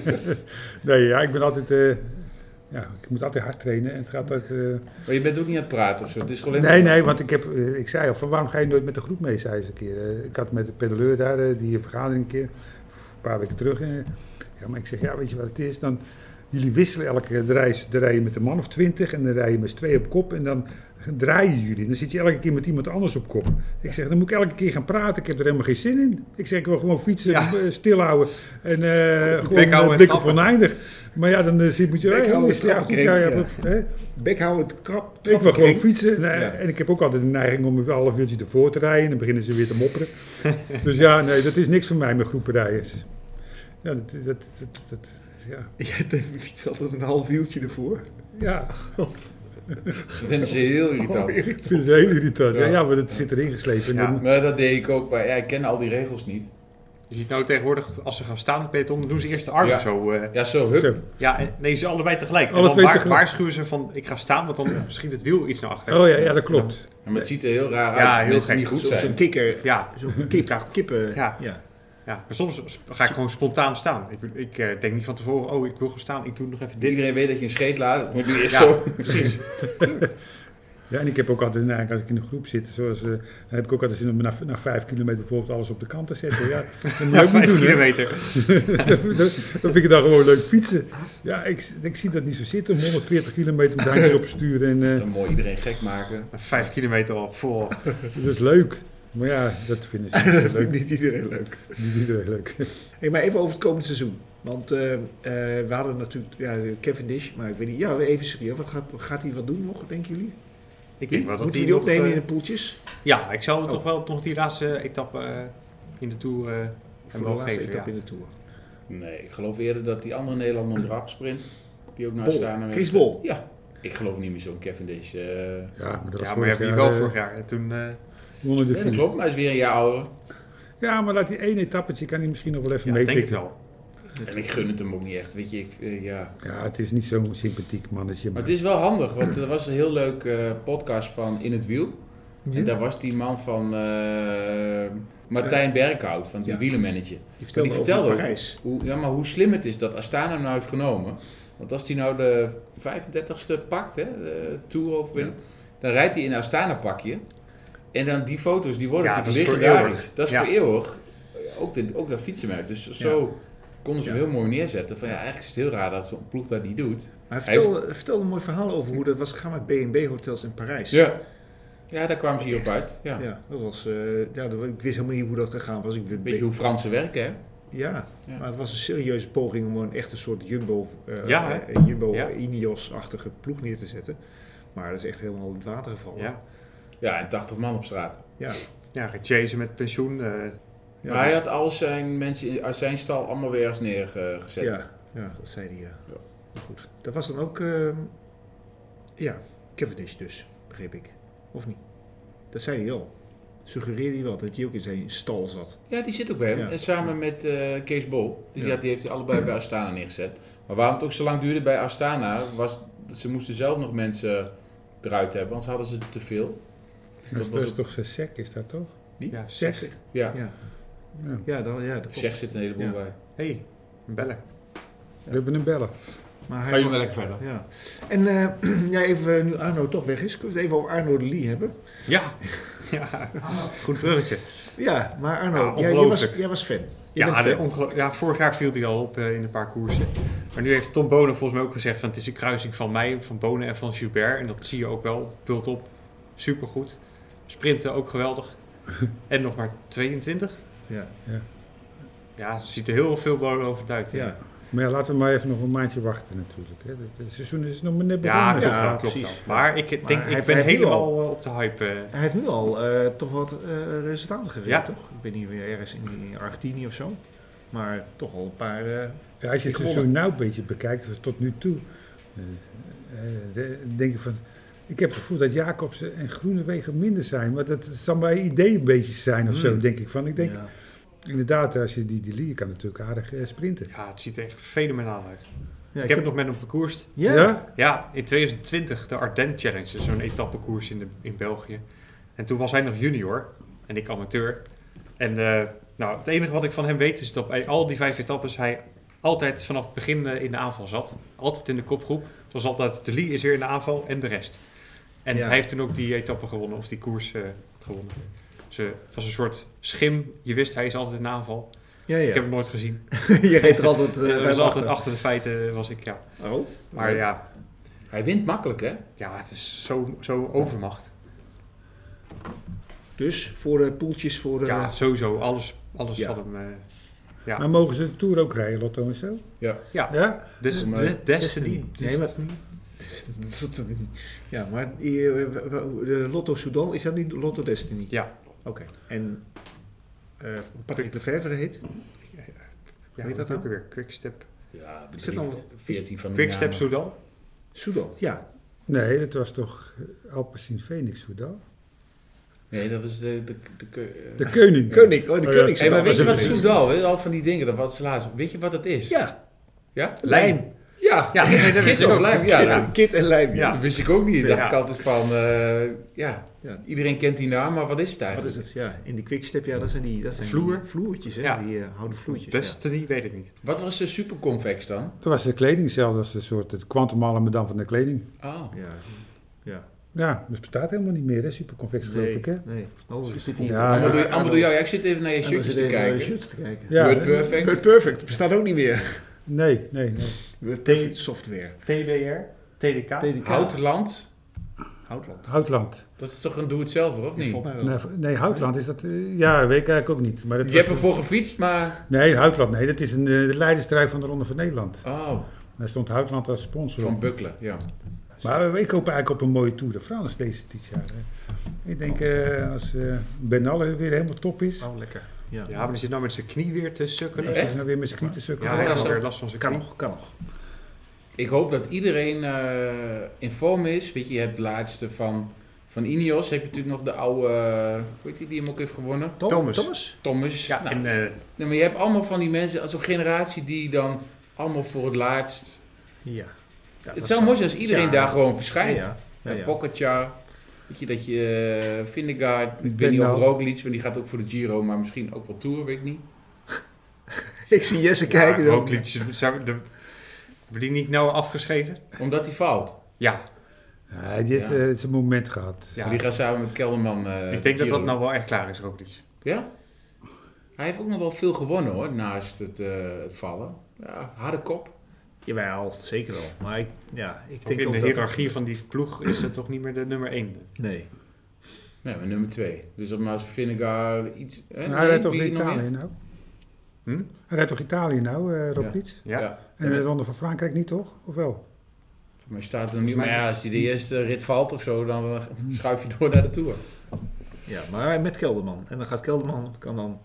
Speaker 1: [laughs] nee, ja, ik ben altijd... eh, ja, ik moet altijd hard trainen en het gaat uit... eh,
Speaker 2: Maar je bent ook niet aan het praten of zo. Het is gewoon
Speaker 1: Nee, nee, want ik, heb, eh, ik zei al, van waarom ga je nooit met de groep mee, zei ze een keer. Eh, Ik had met de pedaleur daar, eh, die een vergadering een keer, een paar weken terug. eh, Ja, maar ik zeg, ja, weet je wat het is? Dan, jullie wisselen elke reis, dan rij je met een man of twintig en dan rij je met z'n twee op kop en dan draaien jullie. En dan zit je elke keer met iemand anders op kop. Ik zeg, dan moet ik elke keer gaan praten, ik heb er helemaal geen zin in. Ik zeg, ik wil gewoon fietsen,
Speaker 4: Ja.
Speaker 1: eh, stilhouden en eh gewoon
Speaker 4: houden
Speaker 1: eh,
Speaker 4: en
Speaker 1: blik op
Speaker 4: trappen.
Speaker 1: oneindig. Maar ja, dan eh, zit- moet je...
Speaker 5: Bek
Speaker 1: eh,
Speaker 5: houden,
Speaker 1: is- ja,
Speaker 5: trappen
Speaker 1: goed, ja, ja,
Speaker 5: kring,
Speaker 1: hè?
Speaker 5: Bekhouden, krap,
Speaker 1: Ik wil
Speaker 5: trappenkring.
Speaker 1: gewoon fietsen. En, eh,
Speaker 5: Ja.
Speaker 1: en ik heb ook altijd de neiging om een half uurtje ervoor te rijden. Dan beginnen ze weer te mopperen. [laughs] dus ja, nee, dat is niks voor mij met groepen rijders. Ja, dat, dat, dat, dat- dat- ja.
Speaker 5: Ja, [laughs] de fiets altijd een half wieltje ervoor.
Speaker 1: ja,
Speaker 2: Dat is heel irritant.
Speaker 1: ik vind het heel irritant. Ja,
Speaker 2: Ja.
Speaker 1: ja, maar dat zit erin geslepen.
Speaker 4: Ja.
Speaker 1: En dan-
Speaker 2: Maar dat deed ik ook, maar ja, ik ken al die regels niet.
Speaker 4: Je ziet nou tegenwoordig, als ze gaan staan op peloton, dan doen ze eerst de armen
Speaker 2: Ja.
Speaker 4: zo. eh,
Speaker 2: Ja, zo, hup.
Speaker 1: Zo.
Speaker 4: ja, en- nee, ze allebei tegelijk.
Speaker 1: Alle
Speaker 4: en dan
Speaker 1: twee
Speaker 4: waar-
Speaker 1: tegelijk.
Speaker 4: waarschuwen ze van, ik ga staan, want dan schiet het wiel iets naar achter.
Speaker 1: Oh ja, ja, dat klopt.
Speaker 2: Ja, maar het ziet er heel raar uit
Speaker 4: Ja,
Speaker 2: als
Speaker 4: heel
Speaker 2: mensen
Speaker 4: gek.
Speaker 2: niet goed
Speaker 5: Zo- Zo'n
Speaker 2: zijn.
Speaker 5: kikker,
Speaker 4: Ja,
Speaker 5: zo'n kip, kippen.
Speaker 4: Ja.
Speaker 5: ja.
Speaker 4: ja, maar soms sp- ga ik gewoon spontaan staan. Ik, ik eh, denk niet van tevoren, oh, ik wil gaan staan, ik doe nog even dit.
Speaker 2: Iedereen weet dat je een scheet laat. Dat moet je eerst
Speaker 4: ja,
Speaker 2: zo.
Speaker 4: precies.
Speaker 1: Ja, en ik heb ook altijd, nou, als ik in een groep zit, zoals, eh, dan heb ik ook altijd zin om na, na vijf kilometer bijvoorbeeld alles op de kant te zetten. Ja, dat moet je ook
Speaker 4: Ja,
Speaker 1: niet
Speaker 4: vijf
Speaker 1: doen. hè.
Speaker 4: kilometer.
Speaker 1: dat, dat vind ik dan gewoon leuk fietsen. Ja, ik, ik zie dat niet zo zitten om 140 kilometer met handjes op te sturen. En, eh,
Speaker 2: Dan mooi iedereen gek maken.
Speaker 4: Nou, Vijf kilometer al vol.
Speaker 1: Dat is leuk. Maar ja, dat vinden ze niet zo leuk.
Speaker 5: Niet iedereen leuk.
Speaker 1: Niet iedereen leuk.
Speaker 5: Hey, maar even over het komende seizoen. Want eh, eh, we hadden natuurlijk ja, Cavendish, maar ik weet niet. Ja, even serieus. Wat gaat, gaat hij wat doen nog, denken jullie?
Speaker 4: Ik denk wel dat
Speaker 5: Moeten
Speaker 4: die
Speaker 5: we die
Speaker 4: nog,
Speaker 5: opnemen
Speaker 4: eh,
Speaker 5: in de poeltjes?
Speaker 4: Ja, ik zou hem
Speaker 5: Oh.
Speaker 4: toch wel nog die laatste etappe eh, in de Tour eh,
Speaker 5: Voor
Speaker 4: hem
Speaker 5: de
Speaker 4: wel
Speaker 5: laatste
Speaker 4: geven. Ja.
Speaker 5: etappe in de Tour.
Speaker 2: Nee, ik geloof eerder dat die andere Nederlander onderaf sprint. Die ook naar
Speaker 5: Bol.
Speaker 2: staan. en-
Speaker 5: Kees Bol.
Speaker 2: Ja. Ik geloof niet meer zo'n Cavendish. eh.
Speaker 1: Ja, maar dat was
Speaker 4: Ja, maar
Speaker 1: vorig
Speaker 4: je hebt hier
Speaker 1: jaar,
Speaker 4: wel
Speaker 1: eh,
Speaker 4: vorig jaar. En toen, eh,
Speaker 1: Onder de
Speaker 2: Nee, dat
Speaker 1: vier.
Speaker 2: klopt, maar hij is weer een jaar ouder.
Speaker 1: ja, maar laat die één etappetje, kan hij misschien nog wel even
Speaker 4: ja, ik denk het
Speaker 1: meepikken.
Speaker 4: wel.
Speaker 2: En ik gun het hem ook niet echt, weet je. Ik, eh, ja.
Speaker 1: Ja, het is niet zo'n sympathiek mannetje.
Speaker 2: Maar
Speaker 1: Maar
Speaker 2: het is wel handig, want er was een heel leuk eh, podcast van In het Wiel. En daar was die man van eh, Martijn Berkhout, van die
Speaker 5: Ja.
Speaker 2: wielermannetje.
Speaker 5: Die vertelde,
Speaker 2: Die vertelde
Speaker 5: over
Speaker 2: ook.
Speaker 5: Parijs.
Speaker 2: Hoe, ja, maar hoe slim het is dat Astana hem nou heeft genomen. Want als hij nou de 35ste pakt, hè, de Tour of win, dan rijdt hij in een Astana-pakje. En dan die foto's, die worden
Speaker 4: Ja,
Speaker 2: natuurlijk
Speaker 4: dat is voor
Speaker 2: legendarisch.
Speaker 4: eeuwig.
Speaker 2: Dat is
Speaker 4: Ja.
Speaker 2: voor eeuwig. Ook, dit, ook dat fietsenmerk. Dus zo konden ze hem heel mooi neerzetten. Van ja, eigenlijk is het heel raar dat zo'n ploeg dat niet doet.
Speaker 5: Maar
Speaker 2: Hij
Speaker 5: vertel, vertel een mooi verhaal over hoe dat was gegaan met B&B hotels in Parijs.
Speaker 2: Ja, ja daar kwamen ze hierop uit. Ja.
Speaker 5: Ja, dat was, eh, ja, dat- ik wist helemaal niet hoe dat gegaan was. Ik weet-
Speaker 2: Beetje hoe Fransen werken, hè?
Speaker 5: Ja,
Speaker 2: Ja.
Speaker 5: maar het was een serieuze poging om een echt een soort Jumbo, eh,
Speaker 4: Ja, hè?
Speaker 5: eh, Jumbo
Speaker 4: Ja.
Speaker 5: Ineos-achtige ploeg neer te zetten. Maar dat is echt helemaal in het water gevallen.
Speaker 4: Ja.
Speaker 2: Ja, en 80 man op straat.
Speaker 5: ja.
Speaker 4: Ja, gaat chasen met pensioen. eh,
Speaker 5: Ja,
Speaker 2: maar hij
Speaker 5: dus-
Speaker 2: had al zijn mensen in- uit zijn stal allemaal weer eens neergezet.
Speaker 5: Ja, ja, dat zei hij. Ja. Maar Goed. Dat was dan ook, ehm, ja, Cavendish dus, begreep ik. Of niet? Dat zei hij al. Suggereerde hij wel dat hij ook in zijn stal zat.
Speaker 2: Ja, die zit ook bij hem.
Speaker 5: Ja.
Speaker 2: En samen met eh, Kees Bol. Die,
Speaker 5: Ja.
Speaker 2: had, die heeft hij allebei bij Astana neergezet. Maar waarom het ook zo lang duurde bij Astana, was dat ze moesten zelf nog mensen eruit hebben, anders hadden ze te veel. Dus dat
Speaker 1: Dat
Speaker 2: was
Speaker 1: is
Speaker 2: ook-
Speaker 1: toch zijn sec, is dat toch?
Speaker 4: ja,
Speaker 5: Zeg.
Speaker 4: zeg.
Speaker 2: ja,
Speaker 5: Ja,
Speaker 1: Ja.
Speaker 5: ja, dan, ja dat klopt.
Speaker 2: zeg zit een heleboel
Speaker 5: Ja.
Speaker 2: bij.
Speaker 4: hey, een beller.
Speaker 1: We hebben een bellen.
Speaker 5: Maar
Speaker 2: Ga jullie maar lekker verder.
Speaker 5: Ja. En eh, [clears throat] ja, even nu Arno toch weg is, kunnen we het even over Arno de Lee hebben.
Speaker 4: Ja. ja. [laughs] Goed bruggetje.
Speaker 5: Ja, maar Arno,
Speaker 4: Ja,
Speaker 5: jij, jij, was,
Speaker 4: ongelooflijk.
Speaker 5: jij was fan. Jij
Speaker 4: Ja, ah,
Speaker 5: bent
Speaker 4: de
Speaker 5: fan.
Speaker 4: ongelo- ja, vorig jaar viel die al op eh, in een paar koersen. Maar nu heeft Tom Bonen volgens mij ook gezegd: van, het is een kruising van mij, van Bonen en van Gilbert. En dat zie je ook wel. Pult op, supergoed. Sprinten ook geweldig. en nog maar 22.
Speaker 5: Ja,
Speaker 4: Ja, het ziet er heel veel belovend uit.
Speaker 5: ja.
Speaker 1: Maar ja, laten we maar even nog een maandje wachten natuurlijk. Hè. Het, het seizoen is nog maar net
Speaker 4: Ja,
Speaker 1: begonnen.
Speaker 4: klopt
Speaker 5: Ja,
Speaker 4: wel, klopt wel.
Speaker 5: precies.
Speaker 4: Maar ik denk,
Speaker 5: hij-
Speaker 4: ik ben
Speaker 5: hij viel
Speaker 4: helemaal eh, op de hype. eh.
Speaker 5: Hij heeft nu al eh, toch wat eh, resultaten gereden,
Speaker 4: Ja.
Speaker 5: toch? Ik ben hier weer ergens in, in Argentinië of zo. Maar toch al een paar... eh,
Speaker 1: Ja, als je het
Speaker 5: Die
Speaker 1: seizoen nou een beetje bekijkt, dus tot nu toe, eh, eh, dan denk ik van... Ik heb het gevoel dat Jacobsen en Groenewegen minder zijn. Maar dat het dan bij idee een beetje zijn of zo,
Speaker 5: Hmm.
Speaker 1: denk ik. Van. Ik denk
Speaker 5: ja.
Speaker 1: inderdaad, als je die, die Lee kan natuurlijk aardig eh, sprinten.
Speaker 4: Ja, het ziet er echt fenomenaal uit.
Speaker 5: Ja,
Speaker 4: ik heb nog met hem gekoerst.
Speaker 5: Ja?
Speaker 4: Ja, in 2020 de Ardennes Challenge, dus zo'n etappekoers in, de, in België. En toen was hij nog junior en ik amateur. En eh, nou, het enige wat ik van hem weet is dat bij al die vijf etappes hij altijd vanaf het begin eh, in de aanval zat. Altijd in de kopgroep. Het was altijd de Lee is weer in de aanval en de rest. En
Speaker 5: Ja.
Speaker 4: hij heeft toen ook die etappe gewonnen, of die koers eh, gewonnen. Dus eh, het was een soort schim. Je wist, hij is altijd in de aanval.
Speaker 5: Ja,
Speaker 4: Ik
Speaker 5: ja.
Speaker 4: heb hem nooit gezien.
Speaker 5: [laughs] je reed er altijd eh,
Speaker 4: Eh,
Speaker 5: bij
Speaker 4: was
Speaker 5: hem
Speaker 4: altijd achter de feiten, eh, was ik, ja.
Speaker 5: Oh.
Speaker 4: Maar ja,
Speaker 2: Hij wint makkelijk, hè?
Speaker 4: ja het is zo'n zo overmacht.
Speaker 5: Dus voor de poeltjes, voor de...
Speaker 4: Ja, sowieso. Alles, alles
Speaker 5: Ja.
Speaker 4: van hem. eh, ja.
Speaker 1: Maar mogen ze de Tour ook rijden, Lotto en zo?
Speaker 2: Ja.
Speaker 4: Ja.
Speaker 1: Ja?
Speaker 4: dus
Speaker 2: Maar-
Speaker 4: de- Destiny.
Speaker 5: Nee, maar... Ja, maar die, eh, w- w- de Lotto Soudal, is dat niet Lotto Destiny?
Speaker 4: Ja.
Speaker 5: Oké. En eh Patrick Lefevre heet?
Speaker 4: Ja,
Speaker 5: Weet
Speaker 4: weet
Speaker 5: dat
Speaker 4: dat ook
Speaker 5: nou?
Speaker 4: weer? Quickstep.
Speaker 2: Ja,
Speaker 5: Is dat
Speaker 2: bedrijf,
Speaker 5: nou-
Speaker 2: 14 van
Speaker 4: Quickstep
Speaker 2: Milano.
Speaker 4: Soudal.
Speaker 5: Soudal, ja.
Speaker 1: Nee, dat was toch eh, Alpecin Phoenix, hoe dan?
Speaker 2: Nee, dat is de... de, de, de,
Speaker 1: De Keuning.
Speaker 5: Koning, oh, de
Speaker 1: Oh, ja.
Speaker 5: koning.
Speaker 2: Hey, maar weet je wat
Speaker 5: Soudal?
Speaker 2: Soudal, hè, al van die dingen, dat wat ze laatst- weet je wat dat is?
Speaker 5: Ja,
Speaker 2: Ja?
Speaker 5: lijm.
Speaker 2: Ja,
Speaker 4: Ja, nee, dat
Speaker 2: Kit
Speaker 4: weet ik
Speaker 2: of
Speaker 4: ook.
Speaker 2: lijm, ja. nou. dat-
Speaker 5: Kit, kit en lijm, ja.
Speaker 4: Ja.
Speaker 2: Dat wist ik ook niet.
Speaker 4: Nee,
Speaker 2: dacht
Speaker 4: ja.
Speaker 2: ik altijd van, eh, ja,
Speaker 5: Ja.
Speaker 2: iedereen kent die naam, maar wat is het
Speaker 5: Wat
Speaker 2: eigenlijk?
Speaker 5: is het? Ja, in de quickstep, ja, dat zijn die... Dat zijn
Speaker 4: Vloer.
Speaker 5: Die vloertjes, hè.
Speaker 4: Ja.
Speaker 5: Die eh, houden vloertjes.
Speaker 4: Destiny weet ik niet.
Speaker 2: Wat was de superconvex dan?
Speaker 1: Dat was de kleding zelf, dat is een soort het kwantum Alamedan van de kleding.
Speaker 2: Oh,
Speaker 5: Ja. ja. ja.
Speaker 1: Ja, dat bestaat helemaal niet meer, hè? Superconvex geloof
Speaker 5: Nee,
Speaker 1: ik, hè?
Speaker 5: Nee, anders zit hier...
Speaker 1: Ja,
Speaker 5: Ja,
Speaker 2: allemaal, door, allemaal door jou. Ja, ik zit even naar je shirtjes te kijken.
Speaker 5: Shirtjes te kijken.
Speaker 1: Ja,
Speaker 2: Word
Speaker 1: hè?
Speaker 2: perfect.
Speaker 5: Word Perfect bestaat ook niet meer.
Speaker 1: Nee, nee, nee.
Speaker 5: Word Perfect software.
Speaker 4: TDR. TDK.
Speaker 5: TDK.
Speaker 2: Houtland,
Speaker 5: Houtland.
Speaker 1: Houtland.
Speaker 2: dat is toch een doe-het-zelf, of niet?
Speaker 5: Volgens mij wel.
Speaker 1: Nee, nee, Houtland is dat... eh, ja, weet ik eigenlijk ook niet. Maar dat
Speaker 2: Oh. Je hebt
Speaker 1: was-
Speaker 2: ervoor gefietst, maar...
Speaker 1: Nee, Houtland, nee. Dat is een, eh, de leidersdrijf van de Ronde van Nederland.
Speaker 2: Oh,
Speaker 1: Daar stond Houtland als sponsor
Speaker 2: van
Speaker 1: op.
Speaker 2: Bukkelen, ja.
Speaker 1: Maar eh, ik hoop eigenlijk op een mooie Tour de France deze dit jaar. hè. Ik denk eh, als eh Benalle weer helemaal top is...
Speaker 5: Oh, lekker. Ja.
Speaker 4: Ja, maar die zit nou met zijn knie weer te sukkelen.
Speaker 1: Als
Speaker 2: Nee.
Speaker 1: hij
Speaker 2: echt?
Speaker 1: nou weer met zijn knie te sukkelen
Speaker 4: Ja, hij
Speaker 1: heeft.
Speaker 2: Ja,
Speaker 4: heeft
Speaker 2: zo.
Speaker 4: weer last van zijn
Speaker 5: Kan
Speaker 4: knie.
Speaker 5: nog, kan nog.
Speaker 2: Ik hoop dat iedereen eh, in vorm is. Weet je, je hebt de laatste van, van Ineos. Heb je natuurlijk nog de oude, eh, weet je, die hem ook heeft gewonnen.
Speaker 5: Tom-
Speaker 4: Thomas.
Speaker 5: Thomas?
Speaker 2: Thomas.
Speaker 4: Ja,
Speaker 2: Nou,
Speaker 4: en eh,
Speaker 2: nee, maar je hebt allemaal van die mensen, als een generatie die dan allemaal voor het laatst
Speaker 5: Ja.
Speaker 2: Het zou mooi zijn als iedereen daar gewoon
Speaker 5: schijnt.
Speaker 2: verschijnt.
Speaker 5: Ja, ja,
Speaker 2: Een
Speaker 5: ja.
Speaker 2: Pogacar, weet je, dat je eh, Vindegaard, ik weet
Speaker 1: ben
Speaker 2: niet of
Speaker 1: nou-
Speaker 2: Roglic, want die gaat ook voor de Giro, maar misschien ook wel Tour, weet ik niet.
Speaker 5: Ik zie Jesse
Speaker 4: ja,
Speaker 5: kijken. dus- dan-
Speaker 4: Roglic, zou de- hebben die niet nou afgeschreven?
Speaker 2: Omdat hij faalt.
Speaker 4: Ja,
Speaker 1: Nee, die heeft
Speaker 2: Ja.
Speaker 1: eh, zijn moment gehad.
Speaker 4: ja.
Speaker 2: Maar die gaat samen met Kelderman eh,
Speaker 4: ik denk
Speaker 2: de
Speaker 4: dat nou- dat
Speaker 2: Giro
Speaker 4: nou wel echt klaar is, Roglic.
Speaker 2: doen. Ja? Hij heeft ook nog wel veel gewonnen hoor, naast het, eh, het vallen. Ja, harde kop.
Speaker 5: Jawel, zeker wel. Maar ik, ja, ik
Speaker 4: Ook
Speaker 5: denk
Speaker 4: in
Speaker 5: ook
Speaker 4: de
Speaker 5: dat-
Speaker 4: hiërarchie van die ploeg is het toch niet meer de nummer één.
Speaker 5: Nee.
Speaker 2: Nee, maar nummer twee. Dus dat maar Vinegar iets... Hè,
Speaker 1: hij
Speaker 2: nee,
Speaker 1: rijdt toch
Speaker 2: wie nog meer?
Speaker 1: Italië nou?
Speaker 4: Hm?
Speaker 1: Hij rijdt toch Italië nou, eh Rob
Speaker 2: Ja.
Speaker 1: Riets?
Speaker 4: Ja.
Speaker 2: Ja.
Speaker 1: En de Ronde van Frankrijk niet, toch? Of wel?
Speaker 2: Voor mij staat er nu... Maar ja, als hij de eerste rit valt of zo, dan eh, schuif je door naar de Tour.
Speaker 5: Ja, maar met Kelderman. En dan gaat Kelderman, kan dan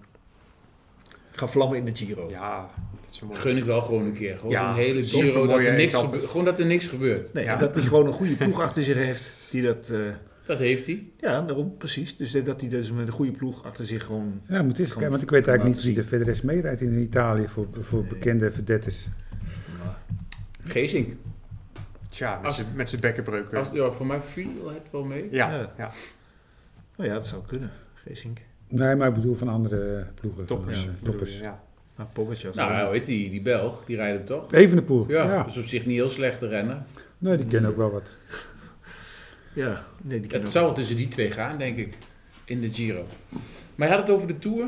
Speaker 5: gaan vlammen in de Giro.
Speaker 4: Ja, dat is een mooi.
Speaker 2: Gun ik wel gewoon een keer. Gewoon
Speaker 4: Ja,
Speaker 2: zo'n hele
Speaker 4: supermooie
Speaker 2: Giro dat er niks
Speaker 4: etappe.
Speaker 2: gebeurt. Gewoon dat er niks gebeurt.
Speaker 5: Nee,
Speaker 4: Ja.
Speaker 5: dat hij gewoon een goede ploeg achter zich heeft. Die dat, eh,
Speaker 2: Dat heeft hij.
Speaker 5: ja, daarom precies. Dus dat hij dus met een goede ploeg achter zich gewoon...
Speaker 1: Ja, moet eens kijken, want ik weet eigenlijk niet wie er verder is meerijdt in Italië voor, voor bekende verdettes.
Speaker 2: Geesink.
Speaker 4: Tja, met
Speaker 2: Als-
Speaker 4: zijn- met zijn bekkenbreuker.
Speaker 2: Als, ja, voor mij viel het wel mee.
Speaker 4: Ja,
Speaker 5: Ja.
Speaker 4: ja.
Speaker 5: Nou ja, dat zou kunnen. Geesink.
Speaker 1: Nee, maar ik bedoel van andere eh, ploegen.
Speaker 4: toppers.
Speaker 1: Van, eh,
Speaker 4: bedoel je,
Speaker 1: toppers.
Speaker 4: Ja.
Speaker 5: Nou, Pogacar. zou-
Speaker 2: Nou, weet die, die Belg, die rijdt hem toch?
Speaker 1: Evenepoel,
Speaker 2: Ja,
Speaker 1: ja.
Speaker 2: dus op zich niet heel slecht te rennen.
Speaker 1: Nee, die kennen ook wel wat.
Speaker 5: ja, nee, die kan
Speaker 2: Het
Speaker 5: ook.
Speaker 2: zou wel tussen die twee gaan, denk ik, in de Giro. Maar je had het over de Tour.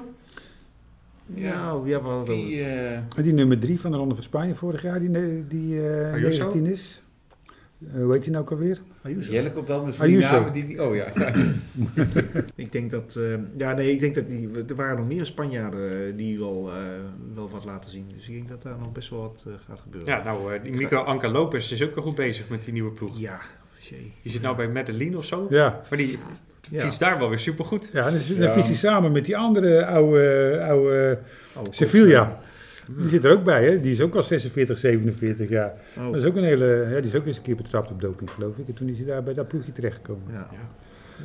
Speaker 2: Ja,
Speaker 5: Nou, ja, wel.
Speaker 2: die... eh,
Speaker 1: En die nummer drie van de Ronde van Spanje vorig jaar, die, ne- die eh
Speaker 4: Ayuso?
Speaker 1: 19 is. Eh, hoe heet die nou ook alweer?
Speaker 5: Ayuso.
Speaker 2: Jelle komt altijd met van die
Speaker 1: Ayuso.
Speaker 2: namen die... die- Oh ja, ja.
Speaker 5: Ik denk dat, eh, ja, nee, ik denk dat die, er waren nog meer Spanjaarden eh, die wel, eh, wel wat laten zien. Dus ik denk dat daar nog best wel wat eh, gaat gebeuren.
Speaker 4: ja, nou, eh, die Nico Anka Lopez is ook wel goed bezig met die nieuwe ploeg.
Speaker 5: Ja, jee.
Speaker 4: Die zit nou bij Medellin of zo.
Speaker 1: Ja,
Speaker 4: Maar die
Speaker 5: Ja.
Speaker 4: fietst daar wel weer supergoed.
Speaker 1: ja dus
Speaker 2: Ja.
Speaker 1: dan fietst hij samen met die andere oude, eh, oude eh,
Speaker 5: Oude
Speaker 1: Sevilla. Die zit er ook bij, hè? Die is ook al 46, 47 jaar.
Speaker 5: Oh.
Speaker 1: Dat is ook een hele, ja, die is ook eens een keer betrapt op doping, geloof ik. En toen is hij daar bij dat ploegje terechtgekomen.
Speaker 5: Ja.
Speaker 4: Ja.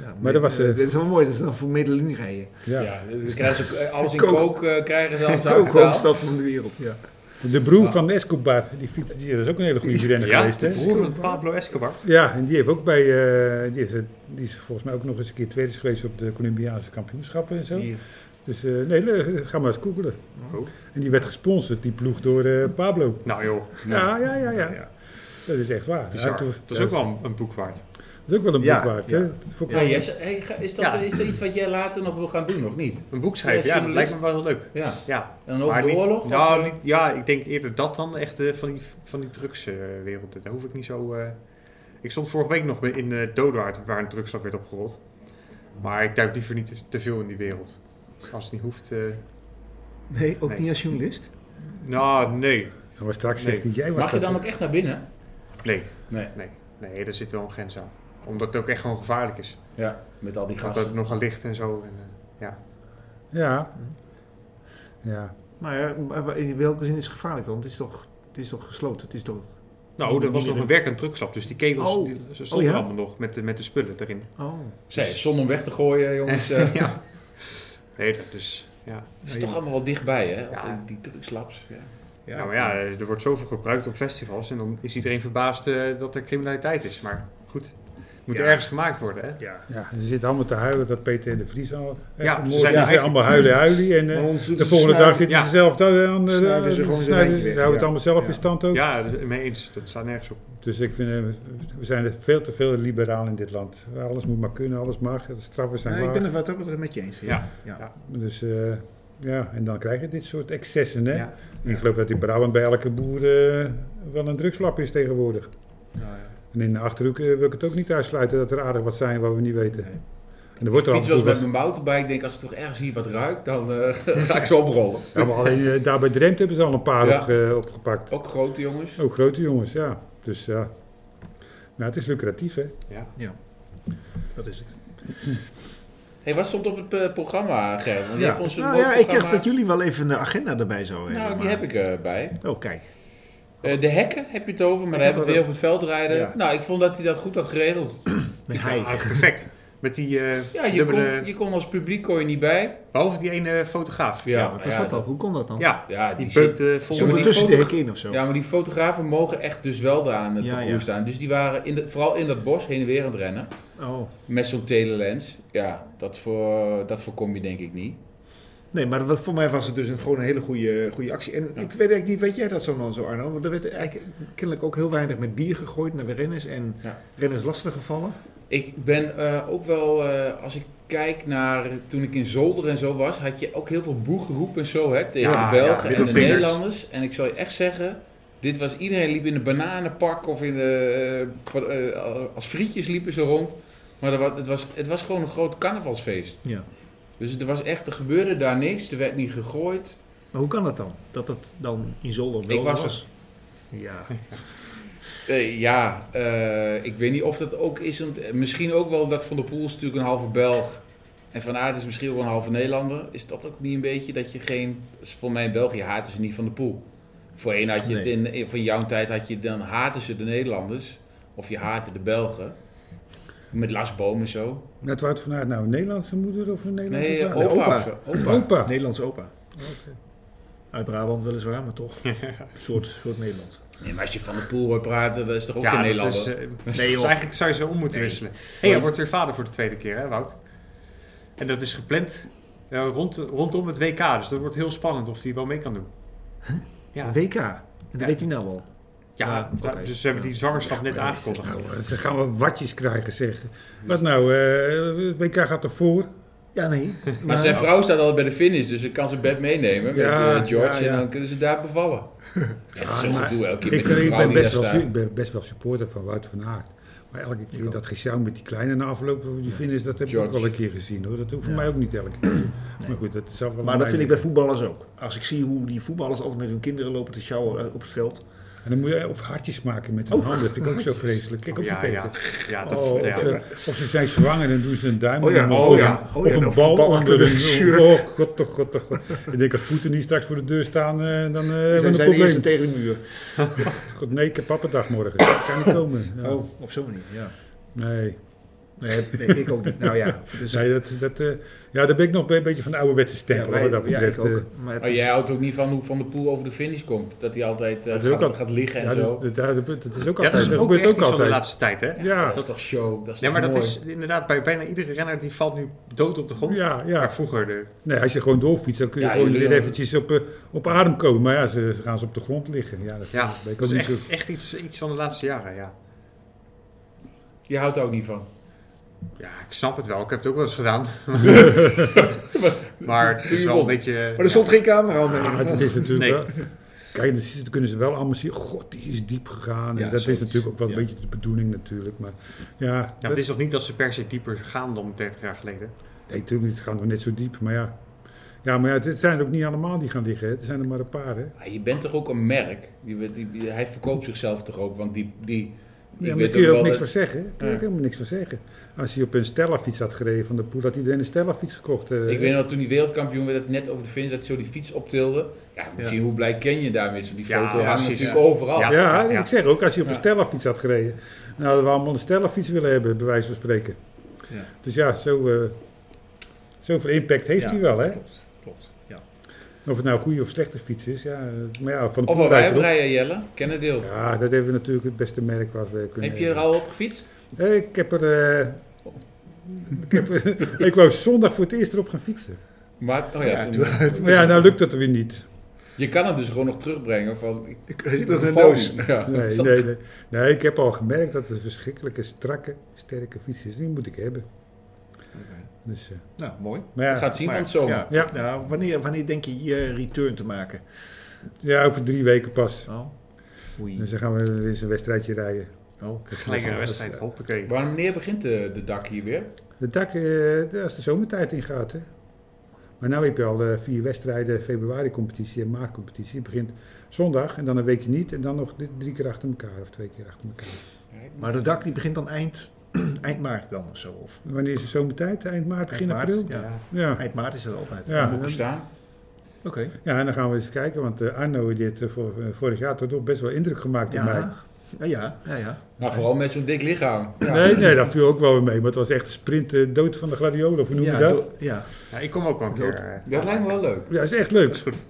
Speaker 5: Ja,
Speaker 1: Maar dat was, eh,
Speaker 5: dit is wel mooi, dat ze dan voor Medellin rijden.
Speaker 1: Ja.
Speaker 2: [laughs] ja dus dan krijgen ze, alles in
Speaker 5: Kook.
Speaker 2: kook eh, krijgen ze, alles
Speaker 5: Ook
Speaker 2: uitbetaald.
Speaker 5: hoofdstad van de wereld, ja.
Speaker 1: De broer van Escobar, die, fiets, die is ook een hele goede renner geweest,
Speaker 4: de
Speaker 1: hè?
Speaker 4: broer van Pablo Escobar.
Speaker 1: Ja, en die heeft ook bij. eh, die, is, die is volgens mij ook nog eens een keer tweede geweest op de Colombiaanse kampioenschappen en zo.
Speaker 5: Hier.
Speaker 1: Dus eh, nee, le- ga maar eens googelen.
Speaker 4: Oh.
Speaker 1: En die werd gesponsord, die ploeg, door eh, Pablo.
Speaker 4: Nou joh,
Speaker 1: Ja. Ja, ja, ja,
Speaker 5: Ja.
Speaker 1: Dat is echt waar.
Speaker 4: bizar.
Speaker 1: Ja, toen-
Speaker 4: Dat is ook wel een, een boek waard.
Speaker 1: dat is ook wel een boek
Speaker 5: Ja,
Speaker 1: waard.
Speaker 5: ja.
Speaker 1: Hè? Voor
Speaker 2: Ja, Jesse, hey, ga- is, dat,
Speaker 4: Ja.
Speaker 2: is dat iets wat jij later nog wil gaan doen, of niet?
Speaker 4: Een boek schrijven,
Speaker 2: Ja,
Speaker 4: ja, dat lijkt me wel heel leuk.
Speaker 2: Ja.
Speaker 4: Ja.
Speaker 2: En dan over
Speaker 4: Maar
Speaker 2: de
Speaker 4: niet-
Speaker 2: oorlog?
Speaker 4: nou,
Speaker 2: of, eh,
Speaker 4: niet- ja, ik denk eerder dat dan echt eh, van die, van die drugswereld. Daar hoef ik niet zo... eh, Ik stond vorige week nog in eh, Dodewaard, waar een drugslag werd opgerold. Maar ik duik liever niet te- te veel in die wereld. Als het niet hoeft... eh,
Speaker 5: Nee, ook
Speaker 4: Nee.
Speaker 5: niet als journalist.
Speaker 4: Nou, nee.
Speaker 1: Ja, maar straks
Speaker 4: Nee.
Speaker 1: zegt hij, jij was
Speaker 2: Mag je
Speaker 1: dat
Speaker 2: dan
Speaker 1: toch?
Speaker 2: ook echt naar binnen?
Speaker 4: Nee,
Speaker 2: Nee.
Speaker 4: nee, daar zit wel een grens aan. Omdat het ook echt gewoon gevaarlijk is.
Speaker 2: Ja, met al die
Speaker 4: Gaat
Speaker 2: gasten.
Speaker 4: er nog aan licht en zo. En, eh,
Speaker 1: Ja. Ja.
Speaker 5: Maar ja, maar wa- in welke zin is het gevaarlijk dan? Het is toch, het is toch gesloten? Het is toch...
Speaker 4: Nou, er was
Speaker 5: Niet
Speaker 4: nog een
Speaker 5: in-
Speaker 4: werkend drugslab, dus die ketels
Speaker 5: Oh.
Speaker 4: die- ze stonden
Speaker 5: Oh, ja?
Speaker 4: allemaal nog met de, met de spullen erin.
Speaker 5: Oh.
Speaker 2: Zij, zon om weg te gooien, jongens. eh, Het
Speaker 4: ja. Nee, dat is... Ja.
Speaker 2: is toch allemaal wel dichtbij, hè?
Speaker 4: Ja.
Speaker 2: Al die- Die drugslabs. Ja.
Speaker 4: Ja, Nou, maar ja, eh, er wordt zoveel gebruikt op festivals en dan is iedereen verbaasd eh, dat er criminaliteit is. Maar goed, het moet
Speaker 5: Ja.
Speaker 4: ergens gemaakt worden, hè?
Speaker 5: Ja.
Speaker 1: Ja, ze zitten allemaal te huilen dat Peter de Vries al heeft
Speaker 4: Ja, ze
Speaker 1: vermoord. Ja, Ze
Speaker 4: zijn
Speaker 1: zijn
Speaker 4: eigenlijk-
Speaker 1: allemaal huilen, huilen. En, eh,
Speaker 5: Maar ons doet
Speaker 1: de
Speaker 5: ze
Speaker 1: volgende dag
Speaker 5: snuiven-
Speaker 1: zitten
Speaker 4: ja.
Speaker 1: ze zelf daar aan. eh,
Speaker 5: Snuiven ze gewoon zijn
Speaker 1: snuiven
Speaker 5: lijntje
Speaker 1: ze.
Speaker 5: weg,
Speaker 1: Ze houden het
Speaker 5: ja.
Speaker 1: allemaal zelf
Speaker 5: Ja.
Speaker 1: in stand ook.
Speaker 4: Ja, mee eens. Dat staat nergens op.
Speaker 1: Dus ik vind, eh, we zijn er veel te veel liberaal in dit land. Alles moet maar kunnen, alles mag. De straffen zijn
Speaker 5: Nee, ik
Speaker 1: laag.
Speaker 5: ben het wat ook betreft met je eens.
Speaker 4: Ja.
Speaker 5: ja.
Speaker 1: Dus eh, ja, en dan krijg je dit soort excessen. Hè?
Speaker 4: Ja.
Speaker 1: En Ik geloof dat in Brabant bij elke boer eh, wel een drugslap is tegenwoordig.
Speaker 5: Nou ja.
Speaker 1: En in de Achterhoek eh, wil ik het ook niet uitsluiten dat er aardig wat zijn wat we niet weten.
Speaker 5: Nee.
Speaker 1: En er wordt
Speaker 2: Ik
Speaker 1: er
Speaker 2: fiets wel eens met
Speaker 1: altijd...
Speaker 2: mijn motorbike. Ik denk, als het toch ergens hier wat ruikt, dan eh, [laughs] ga ik zo oprollen.
Speaker 1: Ja, maar alleen eh, daar bij Drenthe hebben ze al een paar
Speaker 2: Ja.
Speaker 1: op, eh, opgepakt.
Speaker 2: Ook grote jongens.
Speaker 1: Ook Oh, grote jongens, ja. Dus ja, nou, het is lucratief hè.
Speaker 5: Dat is het.
Speaker 2: hey, wat stond op het eh, programma, Ger? Want je hebt ons een
Speaker 5: nou ja, ik
Speaker 2: heb
Speaker 5: dacht dat jullie wel even een agenda erbij zouden hebben.
Speaker 2: Nou, die
Speaker 5: maar-
Speaker 2: heb ik erbij.
Speaker 5: Oh, kijk.
Speaker 2: Eh, de hekken heb je het over, maar dan hebben we het weer over het veldrijden.
Speaker 5: Ja.
Speaker 2: Nou, ik vond dat hij dat goed had geregeld.
Speaker 5: Met
Speaker 4: Ja,
Speaker 5: hij.
Speaker 4: eigenlijk perfect. Met die eh,
Speaker 2: Ja, je,
Speaker 4: dubbele...
Speaker 2: kon, je kon als publiek kon je niet bij.
Speaker 4: Behalve die ene fotograaf.
Speaker 2: Ja,
Speaker 5: Wat
Speaker 2: maar
Speaker 5: was
Speaker 2: ja,
Speaker 5: dat dan? Hoe kon dat dan?
Speaker 4: Ja,
Speaker 2: Ja, die
Speaker 4: die eh,
Speaker 2: zit-
Speaker 4: beukte vol
Speaker 2: Ja, maar
Speaker 5: Zonder
Speaker 2: die
Speaker 4: met...
Speaker 5: tussen de
Speaker 2: foto-
Speaker 5: hek in of zo?
Speaker 2: Ja, maar die fotografen mogen echt dus wel daar aan het
Speaker 5: Ja,
Speaker 2: parcours staan. Dus die waren in de, vooral in dat bos heen en weer aan het rennen.
Speaker 5: Oh.
Speaker 2: Met zo'n telelens. Ja, dat, voor, dat voorkom je denk ik niet.
Speaker 5: Nee, maar wat- voor mij was het dus een, gewoon een hele goede, goede actie. En ik weet eigenlijk niet, weet jij dat zo man zo Arno? Want er werd eigenlijk kennelijk ook heel weinig met bier gegooid naar de renners en
Speaker 2: Ja.
Speaker 5: renners lastig gevallen.
Speaker 2: Ik ben eh, ook wel, eh, als ik kijk naar toen ik in Zolder en zo was, had je ook heel veel boegeroep en zo hè, tegen
Speaker 4: Ja,
Speaker 2: de Belgen
Speaker 4: ja,
Speaker 2: en de
Speaker 4: middelvingers.
Speaker 2: Nederlanders. En ik zal je echt zeggen, dit was, iedereen liep in de bananenpak of in de, eh, pa- eh, als frietjes liepen ze rond. Maar er wa- het, was, het was gewoon een groot carnavalsfeest.
Speaker 5: Ja.
Speaker 2: Dus er, was echt, er gebeurde daar niks, er werd niet gegooid.
Speaker 5: Maar hoe kan dat dan? Dat dat dan in Zolder wel
Speaker 2: Ik was
Speaker 5: Ja.
Speaker 2: Eh, ja, eh, ik weet niet of dat ook is. om- eh, Misschien ook wel omdat Van der Poel is natuurlijk een halve Belg. En Van Aert is misschien wel een halve Nederlander. Is dat ook niet een beetje dat je geen... Voor mij in België haten ze niet Van der Poel. Voorheen had je het
Speaker 5: Nee.
Speaker 2: in, in- Van jouw tijd had je... Dan haten ze de Nederlanders. Of je haatte de Belgen. Met Lasboom en zo.
Speaker 1: Net waar het vanuit nou, een Nederlandse moeder of een Nederlandse
Speaker 2: Nee,
Speaker 1: vader?
Speaker 2: opa.
Speaker 5: opa.
Speaker 2: of zo. opa.
Speaker 1: Opa.
Speaker 5: Nederlandse opa. Uit Brabant weliswaar, maar
Speaker 4: [laughs]
Speaker 5: toch. Een soort, soort Nederlands.
Speaker 2: Nee, maar als je Van der Poel hoort praten, dat is toch ook
Speaker 4: ja,
Speaker 2: geen
Speaker 4: dat
Speaker 2: Nederlander?
Speaker 4: is, eh,
Speaker 2: Dat is
Speaker 4: nee,
Speaker 2: toch-
Speaker 4: joh. eigenlijk zou je ze om moeten wisselen. Hé, hey, hij wordt weer vader voor de tweede keer, hè, Wout? En dat is gepland eh, rond, rondom het WK. Dus dat wordt heel spannend of hij wel mee kan doen. Ja.
Speaker 5: Een WK. En dat
Speaker 4: Ja.
Speaker 5: weet hij nou wel.
Speaker 4: Ja,
Speaker 5: Ja,
Speaker 4: nou,
Speaker 5: oké.
Speaker 4: dus ze hebben die zwangerschap net aangekondigd.
Speaker 1: Nou, eh, ze gaan wel watjes krijgen, zeg. Wat nou, eh, het WK gaat ervoor.
Speaker 5: Ja,
Speaker 4: [laughs]
Speaker 5: nee.
Speaker 2: Maar zijn vrouw staat al bij de finish, dus ik kan zijn bed meenemen met
Speaker 1: Ja,
Speaker 2: eh, George
Speaker 1: ja, ja.
Speaker 2: en dan kunnen ze daar
Speaker 1: [laughs]
Speaker 2: bevallen. Ja, dat is zo'n
Speaker 1: maar
Speaker 2: gedoe elke
Speaker 1: Ik,
Speaker 2: keer met die
Speaker 1: vind- ik
Speaker 2: vrouw
Speaker 1: ben,
Speaker 2: die daar
Speaker 1: best wel,
Speaker 2: staat.
Speaker 1: su- ik ben best wel supporter van Wouter van Aert. Maar elke keer dat gesjouw met die kleine na afloop van die finish, dat heb ik ook
Speaker 2: George.
Speaker 1: al een keer gezien hoor. Dat hoeft voor mij ook niet elke keer. Maar goed, dat zou wel
Speaker 5: Maar dat
Speaker 1: mijn
Speaker 5: vind ik bij
Speaker 1: ding.
Speaker 5: voetballers ook. Als ik zie hoe die voetballers altijd met hun kinderen lopen te sjouwen eh, op het veld.
Speaker 1: En dan moet je of hartjes maken met hun
Speaker 5: Oh.
Speaker 1: handen, dat vind ik ook zo vreselijk. Kijk ook niet
Speaker 4: Ja,
Speaker 1: tegen.
Speaker 4: ja, ja, dat,
Speaker 1: Oh,
Speaker 4: ja.
Speaker 1: of, ze, of ze zijn zwanger en doen ze een duim.
Speaker 5: Oh ja,
Speaker 1: onder-
Speaker 5: oh ja, oh ja,
Speaker 1: Of een
Speaker 5: of
Speaker 1: bal onder
Speaker 5: de
Speaker 1: hun
Speaker 5: shirt.
Speaker 1: Oh god, oh god, oh god. Ik denk als Poetin hier straks voor de deur staan, eh, dan eh hebben we
Speaker 5: Zijn
Speaker 1: een
Speaker 5: zij de eerste
Speaker 1: probleem.
Speaker 5: tegen de muur?
Speaker 1: God, nee, ik heb pappendag morgen. Ik kan niet komen. Ja.
Speaker 5: Oh, op zo'n manier, ja.
Speaker 1: Nee,
Speaker 5: Nee, nee, ik ook niet. Nou [laughs] ja, dus
Speaker 1: nee dat, dat, eh, ja, daar ben ik nog een beetje van de ouderwetse
Speaker 5: ja,
Speaker 1: stempel
Speaker 5: wij,
Speaker 1: wat dat
Speaker 5: ja,
Speaker 1: betreft. eh.
Speaker 5: ik
Speaker 1: Ja,
Speaker 5: ook. Maar het
Speaker 4: Oh,
Speaker 2: Maar
Speaker 5: is-
Speaker 2: Oh, jij houdt ook niet van hoe Van de Poel over de finish komt. Dat hij altijd eh,
Speaker 1: Dat is ook
Speaker 2: gaat,
Speaker 1: al-
Speaker 2: gaat liggen en
Speaker 1: ja,
Speaker 2: zo.
Speaker 1: dat, is- dat, dat- dat is ook
Speaker 4: Ja,
Speaker 1: altijd.
Speaker 4: dat is
Speaker 1: dat
Speaker 4: ook echt
Speaker 1: gebeurt ook
Speaker 4: iets van de
Speaker 1: altijd.
Speaker 4: laatste tijd, hè?
Speaker 1: Ja,
Speaker 2: dat is toch show? Dat is
Speaker 4: Nee, maar
Speaker 2: toch
Speaker 4: dat
Speaker 2: mooi?
Speaker 4: is inderdaad bij bijna iedere renner die valt nu dood op de grond.
Speaker 1: ja, ja.
Speaker 4: Maar vroeger de...
Speaker 1: Nee, als je gewoon doorfietst, dan kun je
Speaker 2: Ja,
Speaker 1: gewoon
Speaker 2: je
Speaker 1: weer
Speaker 2: wil-
Speaker 1: eventjes op, eh, op adem komen. Maar ja, ze, ze gaan ze op de grond liggen. Ja, dat,
Speaker 4: Ja,
Speaker 1: dat ben ik
Speaker 4: Dat
Speaker 1: ook
Speaker 4: is
Speaker 1: niet zo.
Speaker 4: echt, echt iets, iets van de laatste jaren, ja.
Speaker 2: Je houdt er ook niet van.
Speaker 4: Ja, ik snap het wel. Ik heb het ook wel eens
Speaker 5: [laughs]
Speaker 4: gedaan. maar het is
Speaker 2: je
Speaker 4: wel een
Speaker 2: won.
Speaker 4: beetje...
Speaker 5: Maar er stond geen camera aan.
Speaker 1: Ah,
Speaker 5: nee.
Speaker 1: dat is natuurlijk
Speaker 4: Nee.
Speaker 1: wel. Kijk, dat, is- dat kunnen ze wel allemaal zien. God, die is diep gegaan. En
Speaker 5: Ja,
Speaker 1: dat is
Speaker 5: zoiets.
Speaker 1: natuurlijk ook wel een
Speaker 5: Ja.
Speaker 1: beetje de bedoeling natuurlijk. Maar ja,
Speaker 4: Ja,
Speaker 1: dat,
Speaker 4: maar het is toch niet dat ze per se dieper gaan dan 30 jaar geleden?
Speaker 1: nee, natuurlijk niet. Ze gaan nog net zo diep. Maar ja, ja maar ja, het zijn er ook niet allemaal die gaan liggen. Hè. Er zijn er maar een paar. Hè.
Speaker 2: Ja, Ah, je bent toch ook een merk? Die, die, die- hij verkoopt zichzelf toch ook? Want die... die ik
Speaker 1: Ja, maar daar
Speaker 2: weet
Speaker 1: kun je ook
Speaker 2: wel
Speaker 1: niks
Speaker 2: dat-
Speaker 1: van zeggen. Daar kun je
Speaker 2: Ja.
Speaker 1: ook helemaal niks van zeggen. Als hij op een Stella-fiets had gereden van de poel, had iedereen een Stella-fiets gekocht. eh.
Speaker 2: Ik weet nog, toen die wereldkampioen werd, dat ik net over de finish, dat hij zo die fiets optilde. Ja, moet
Speaker 5: Ja.
Speaker 2: zien hoe blij ken je daarmee is. want Die
Speaker 4: Ja,
Speaker 2: foto
Speaker 4: ja,
Speaker 2: hangt
Speaker 4: precies,
Speaker 2: natuurlijk
Speaker 4: ja.
Speaker 2: overal.
Speaker 4: Ja.
Speaker 1: ja, ik zeg ook, als hij op een
Speaker 2: Ja.
Speaker 1: Stella-fiets had gereden, dan hadden we allemaal een Stella-fiets willen hebben, bij wijze van spreken.
Speaker 5: Ja.
Speaker 1: Dus ja, zo, eh, zoveel impact heeft
Speaker 5: Ja,
Speaker 1: hij wel, hè?
Speaker 5: Klopt, klopt. Ja.
Speaker 1: Of het nou een goede of slechte fiets is, ja. eh, Maar ja, van de Poel
Speaker 2: Of waar wij
Speaker 1: rijdt
Speaker 2: op
Speaker 1: erop.
Speaker 2: rijden, Jelle. Kennerdeel.
Speaker 1: Ja, dat hebben we natuurlijk het beste merk wat we kunnen
Speaker 2: Heb je er al op gefietst?
Speaker 1: hebben. Eh, Ik heb er... eh, ik, heb, er- ik wou zondag voor het eerst erop gaan fietsen.
Speaker 2: Maar, oh ja, toen-
Speaker 1: Maar ja, nou lukt dat er weer niet.
Speaker 2: je kan hem dus gewoon nog terugbrengen van... Ik,
Speaker 5: Hij zit nog in de
Speaker 2: val
Speaker 5: doos.
Speaker 2: niet. Ja,
Speaker 1: Nee,
Speaker 2: snap
Speaker 1: nee,
Speaker 2: ik.
Speaker 1: nee. nee, ik heb al gemerkt dat het een verschrikkelijke, strakke, sterke fiets is. Die moet ik hebben. Dus, eh,
Speaker 5: Nou, mooi.
Speaker 1: maar
Speaker 2: We
Speaker 1: ja,
Speaker 2: gaan het zien
Speaker 5: Maar-
Speaker 2: van het zomer.
Speaker 5: Ja.
Speaker 1: Ja.
Speaker 5: Nou, wanneer, wanneer denk je je return te maken?
Speaker 1: ja, over drie weken pas.
Speaker 5: Oh.
Speaker 1: Dus
Speaker 5: Oei.
Speaker 1: dan gaan we weer eens een wedstrijdje rijden.
Speaker 5: Oh.
Speaker 4: Gelijk een wedstrijd, hoppakee.
Speaker 2: Wanneer begint de, de dak hier weer?
Speaker 1: De dak, eh, als de zomertijd ingaat, hè. Maar nu heb je al eh, vier wedstrijden, februari-competitie en maartcompetitie. Het begint zondag en dan een weekje niet. En dan nog di- drie keer achter elkaar of twee keer achter elkaar.
Speaker 2: Ja, ik-
Speaker 5: Maar de dak die begint dan eind, [clears throat] eind maart dan of zo? Of
Speaker 1: Wanneer is de zomertijd? Eind maart, begin
Speaker 5: eind maart?
Speaker 1: april?
Speaker 5: Ja.
Speaker 4: Ja.
Speaker 1: Ja.
Speaker 5: Eind maart is dat altijd.
Speaker 1: Ja.
Speaker 2: boeken staan.
Speaker 5: Oké.
Speaker 1: ja, en dan gaan we eens kijken. Want eh, Arno die heeft eh, vor- eh, vorig jaar toch nog best wel indruk gemaakt op mij.
Speaker 5: Ja. Ja, ja, ja, ja.
Speaker 2: Nou, vooral met zo'n dik lichaam. Ja.
Speaker 1: Nee, nee, dat viel ook wel weer mee. Maar het was echt een sprint eh, dood van de gladiolen. Of hoe noem je
Speaker 5: ja,
Speaker 1: dat?
Speaker 5: do- ja.
Speaker 4: Ja, ik kom ook wel een keer. eh,
Speaker 2: Dat lijkt me wel leuk.
Speaker 1: Ja, is echt leuk.
Speaker 4: Dat is goed.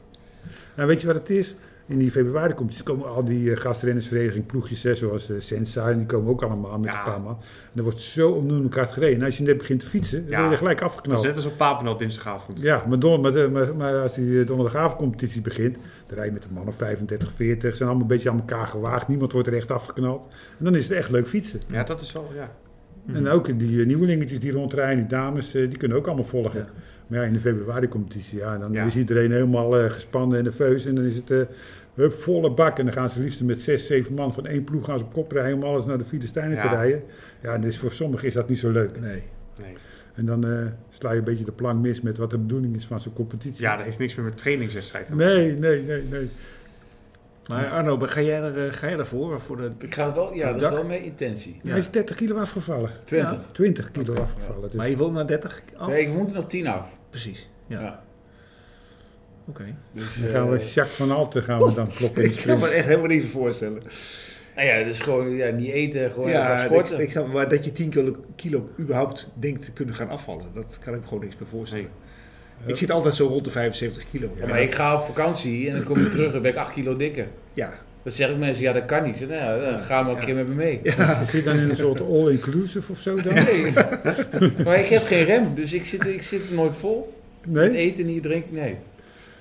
Speaker 1: Nou, weet je wat het is? In die februari komt, dus komen al die eh, gastrennersvereniging, ploegjes, hè, zoals eh Sensa, en die komen ook allemaal met
Speaker 4: Ja.
Speaker 1: een paar man. En er wordt zo onnoemelijk hard gereden. En als je net begint te fietsen, dan
Speaker 4: Ja.
Speaker 1: word je er gelijk
Speaker 4: Dat is
Speaker 1: afgeknald.
Speaker 4: net als op Papenal dinsdagavond.
Speaker 1: Ja, maar, don, maar, de- maar, maar als die eh, donderdagavondcompetitie begint, dan rij je met een man of 35, 40, zijn allemaal een beetje aan elkaar gewaagd, niemand wordt er echt afgeknald. En dan is het echt leuk fietsen.
Speaker 4: Ja, dat is wel, ja.
Speaker 1: En ook die eh, nieuwelingetjes die rondrijden, die dames, eh, die kunnen ook allemaal volgen.
Speaker 5: Ja.
Speaker 1: Maar ja, in de februari-competitie, ja, dan
Speaker 4: Ja.
Speaker 1: is iedereen helemaal eh, gespannen en nerveus. En dan is het eh, hup, volle bak. En dan gaan ze liefst met zes, zeven man van één ploeg gaan ze op kop rijden om alles naar de Filistijnen te
Speaker 4: Ja.
Speaker 1: rijden. Ja, en dus voor sommigen is dat niet zo leuk.
Speaker 5: Nee.
Speaker 4: Nee.
Speaker 1: En dan eh, sla je een beetje de plank mis met wat de bedoeling is van zo'n competitie.
Speaker 4: Ja, dat heeft niks meer met trainingswedstrijd te maken.
Speaker 1: Nee, nee, nee, nee.
Speaker 5: Maar Arno, ga jij, er, eh, ga jij daarvoor? Voor de...
Speaker 2: Ik ga het wel, ja, dat is
Speaker 5: Dak?
Speaker 2: wel mijn intentie.
Speaker 5: Ja.
Speaker 1: Hij is 30 kilo afgevallen.
Speaker 2: 20.
Speaker 1: 20 kilo afgevallen. Dus.
Speaker 5: Maar je wil naar 30 af?
Speaker 2: Nee, ik moet er nog 10 af.
Speaker 5: Precies. Ja.
Speaker 2: Ja.
Speaker 5: Oké.
Speaker 2: Dus,
Speaker 1: Dan gaan we
Speaker 2: eh,
Speaker 1: Jacques van Alten gaan we dan kloppen in
Speaker 5: [laughs]
Speaker 1: de
Speaker 5: Ik kan
Speaker 1: sprint.
Speaker 5: me echt helemaal niet voorstellen.
Speaker 2: nou ja, dus gewoon ja, niet eten, gewoon gaan
Speaker 5: Ja, ik,
Speaker 2: sporten.
Speaker 5: ik snap, maar dat je 10 kilo, kilo überhaupt denkt te kunnen gaan afvallen, dat kan ik me gewoon niks meer voorstellen. Ik zit altijd zo rond de 75 kilo.
Speaker 2: Ja, maar ik ga op vakantie en dan kom ik terug en ben ik 8 kilo dikker.
Speaker 5: ja.
Speaker 2: Dan zeggen mensen, ja dat kan niet. Ik zeg, nou, ja, dan gaan we een keer met me mee.
Speaker 1: Ze zit dan in een soort all-inclusive of zo dan?
Speaker 2: Nee. maar ik heb geen rem, dus ik zit, ik zit er nooit vol. Het
Speaker 1: Nee?
Speaker 2: eten niet, drinken, nee.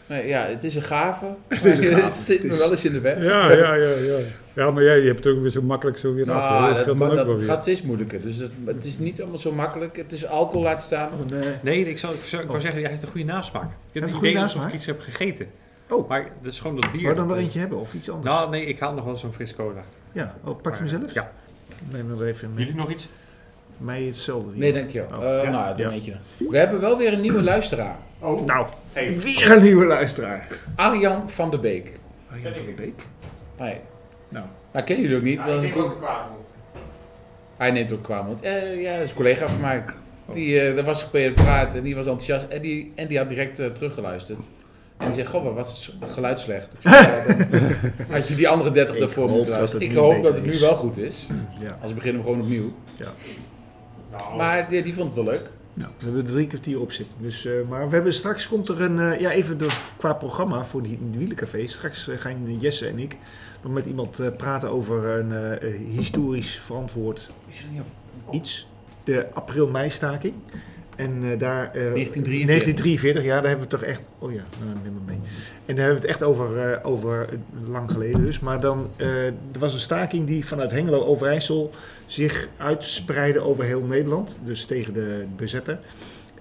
Speaker 2: nee. Ja, het is een gave. Het,
Speaker 5: is een
Speaker 2: [laughs]
Speaker 5: gave.
Speaker 2: zit me wel eens in de weg.
Speaker 1: Ja, ja, ja, ja. Ja, maar jij je hebt het ook weer zo makkelijk zo weer af. hè?
Speaker 2: Nou,
Speaker 1: dat
Speaker 2: dat,
Speaker 1: scheelt dan
Speaker 2: maar
Speaker 1: ook
Speaker 2: dat
Speaker 1: wel weer.
Speaker 2: gaat steeds moeilijker. Dus dat, het is niet allemaal zo makkelijk. Het is alcohol laat staan.
Speaker 5: Oh, nee. Oh.
Speaker 4: Nee, ik, zou, ik, zou, ik wou zeggen, jij heeft een goede nasmaak. Je
Speaker 5: een
Speaker 4: hebt het
Speaker 5: goede
Speaker 4: idee alsof ik
Speaker 5: nasmaak?
Speaker 4: iets heb gegeten.
Speaker 5: Oh.
Speaker 4: Maar dat is gewoon dat bier.
Speaker 5: Maar dan
Speaker 4: dat,
Speaker 5: er
Speaker 4: eh,
Speaker 5: eentje hebben of iets anders.
Speaker 4: Nou, nee, ik haal nog wel zo'n fris cola.
Speaker 5: ja. Oh, pak je hem
Speaker 4: Maar,
Speaker 5: zelf?
Speaker 4: Ja.
Speaker 5: Neem hem er even mee.
Speaker 4: Jullie nog iets?
Speaker 5: Mij hetzelfde.
Speaker 2: Nee, dankjewel.
Speaker 5: Oh,
Speaker 2: Eh,
Speaker 4: ja,
Speaker 2: nou, doe
Speaker 5: ja.
Speaker 2: een eentje dan. We hebben wel weer een nieuwe luisteraar.
Speaker 4: Oh.
Speaker 5: Nou,
Speaker 4: Hey.
Speaker 5: weer een nieuwe luisteraar.
Speaker 2: Arjan van der Beek.
Speaker 5: Arjan van der Beek.
Speaker 2: Hij,
Speaker 5: Nou.
Speaker 2: nou, ken jullie ook niet. want ik ook-
Speaker 4: kwaad
Speaker 2: hij neemt ook kwamend. Eh ja, dat is een collega van mij.
Speaker 5: Oh.
Speaker 2: Die, eh, daar was ik bij het praten en die was enthousiast. En die, en die had direct eh, teruggeluisterd. En die zegt, goh, wat was het geluid slecht. Ik zeg, "Ja, dan
Speaker 5: [laughs]
Speaker 2: had je die andere 30
Speaker 5: Ik
Speaker 2: daarvoor
Speaker 5: hoop
Speaker 2: moeten
Speaker 5: dat
Speaker 2: luisteren.
Speaker 5: het
Speaker 2: Ik
Speaker 5: nu
Speaker 2: hoop
Speaker 5: beter
Speaker 2: dat het nu
Speaker 5: is.
Speaker 2: wel goed is.
Speaker 5: [clears throat] Ja.
Speaker 2: Als we beginnen we gewoon opnieuw.
Speaker 5: Ja.
Speaker 2: Maar die, die vond het wel leuk.
Speaker 5: Nou, we hebben er drie kwartier op zitten. Dus, eh, maar we hebben, straks komt er een, eh, ja even de, qua programma voor die die wielencafé. Straks eh, gaan eh, Jesse en ik nog met iemand eh, praten over een eh, eh, historisch verantwoord
Speaker 2: Ik zeg, "Ja,
Speaker 5: iets. De april-mei-staking. En eh, daar... eh,
Speaker 2: 1943.
Speaker 5: 1943, ja, daar hebben we het toch echt... Oh ja, nou, neem maar mee. En daar hebben we het echt over, eh, over eh, lang geleden dus. Maar dan, eh, er was een staking die vanuit Hengelo-Overijssel zich uitspreidde over heel Nederland. Dus tegen de bezetter.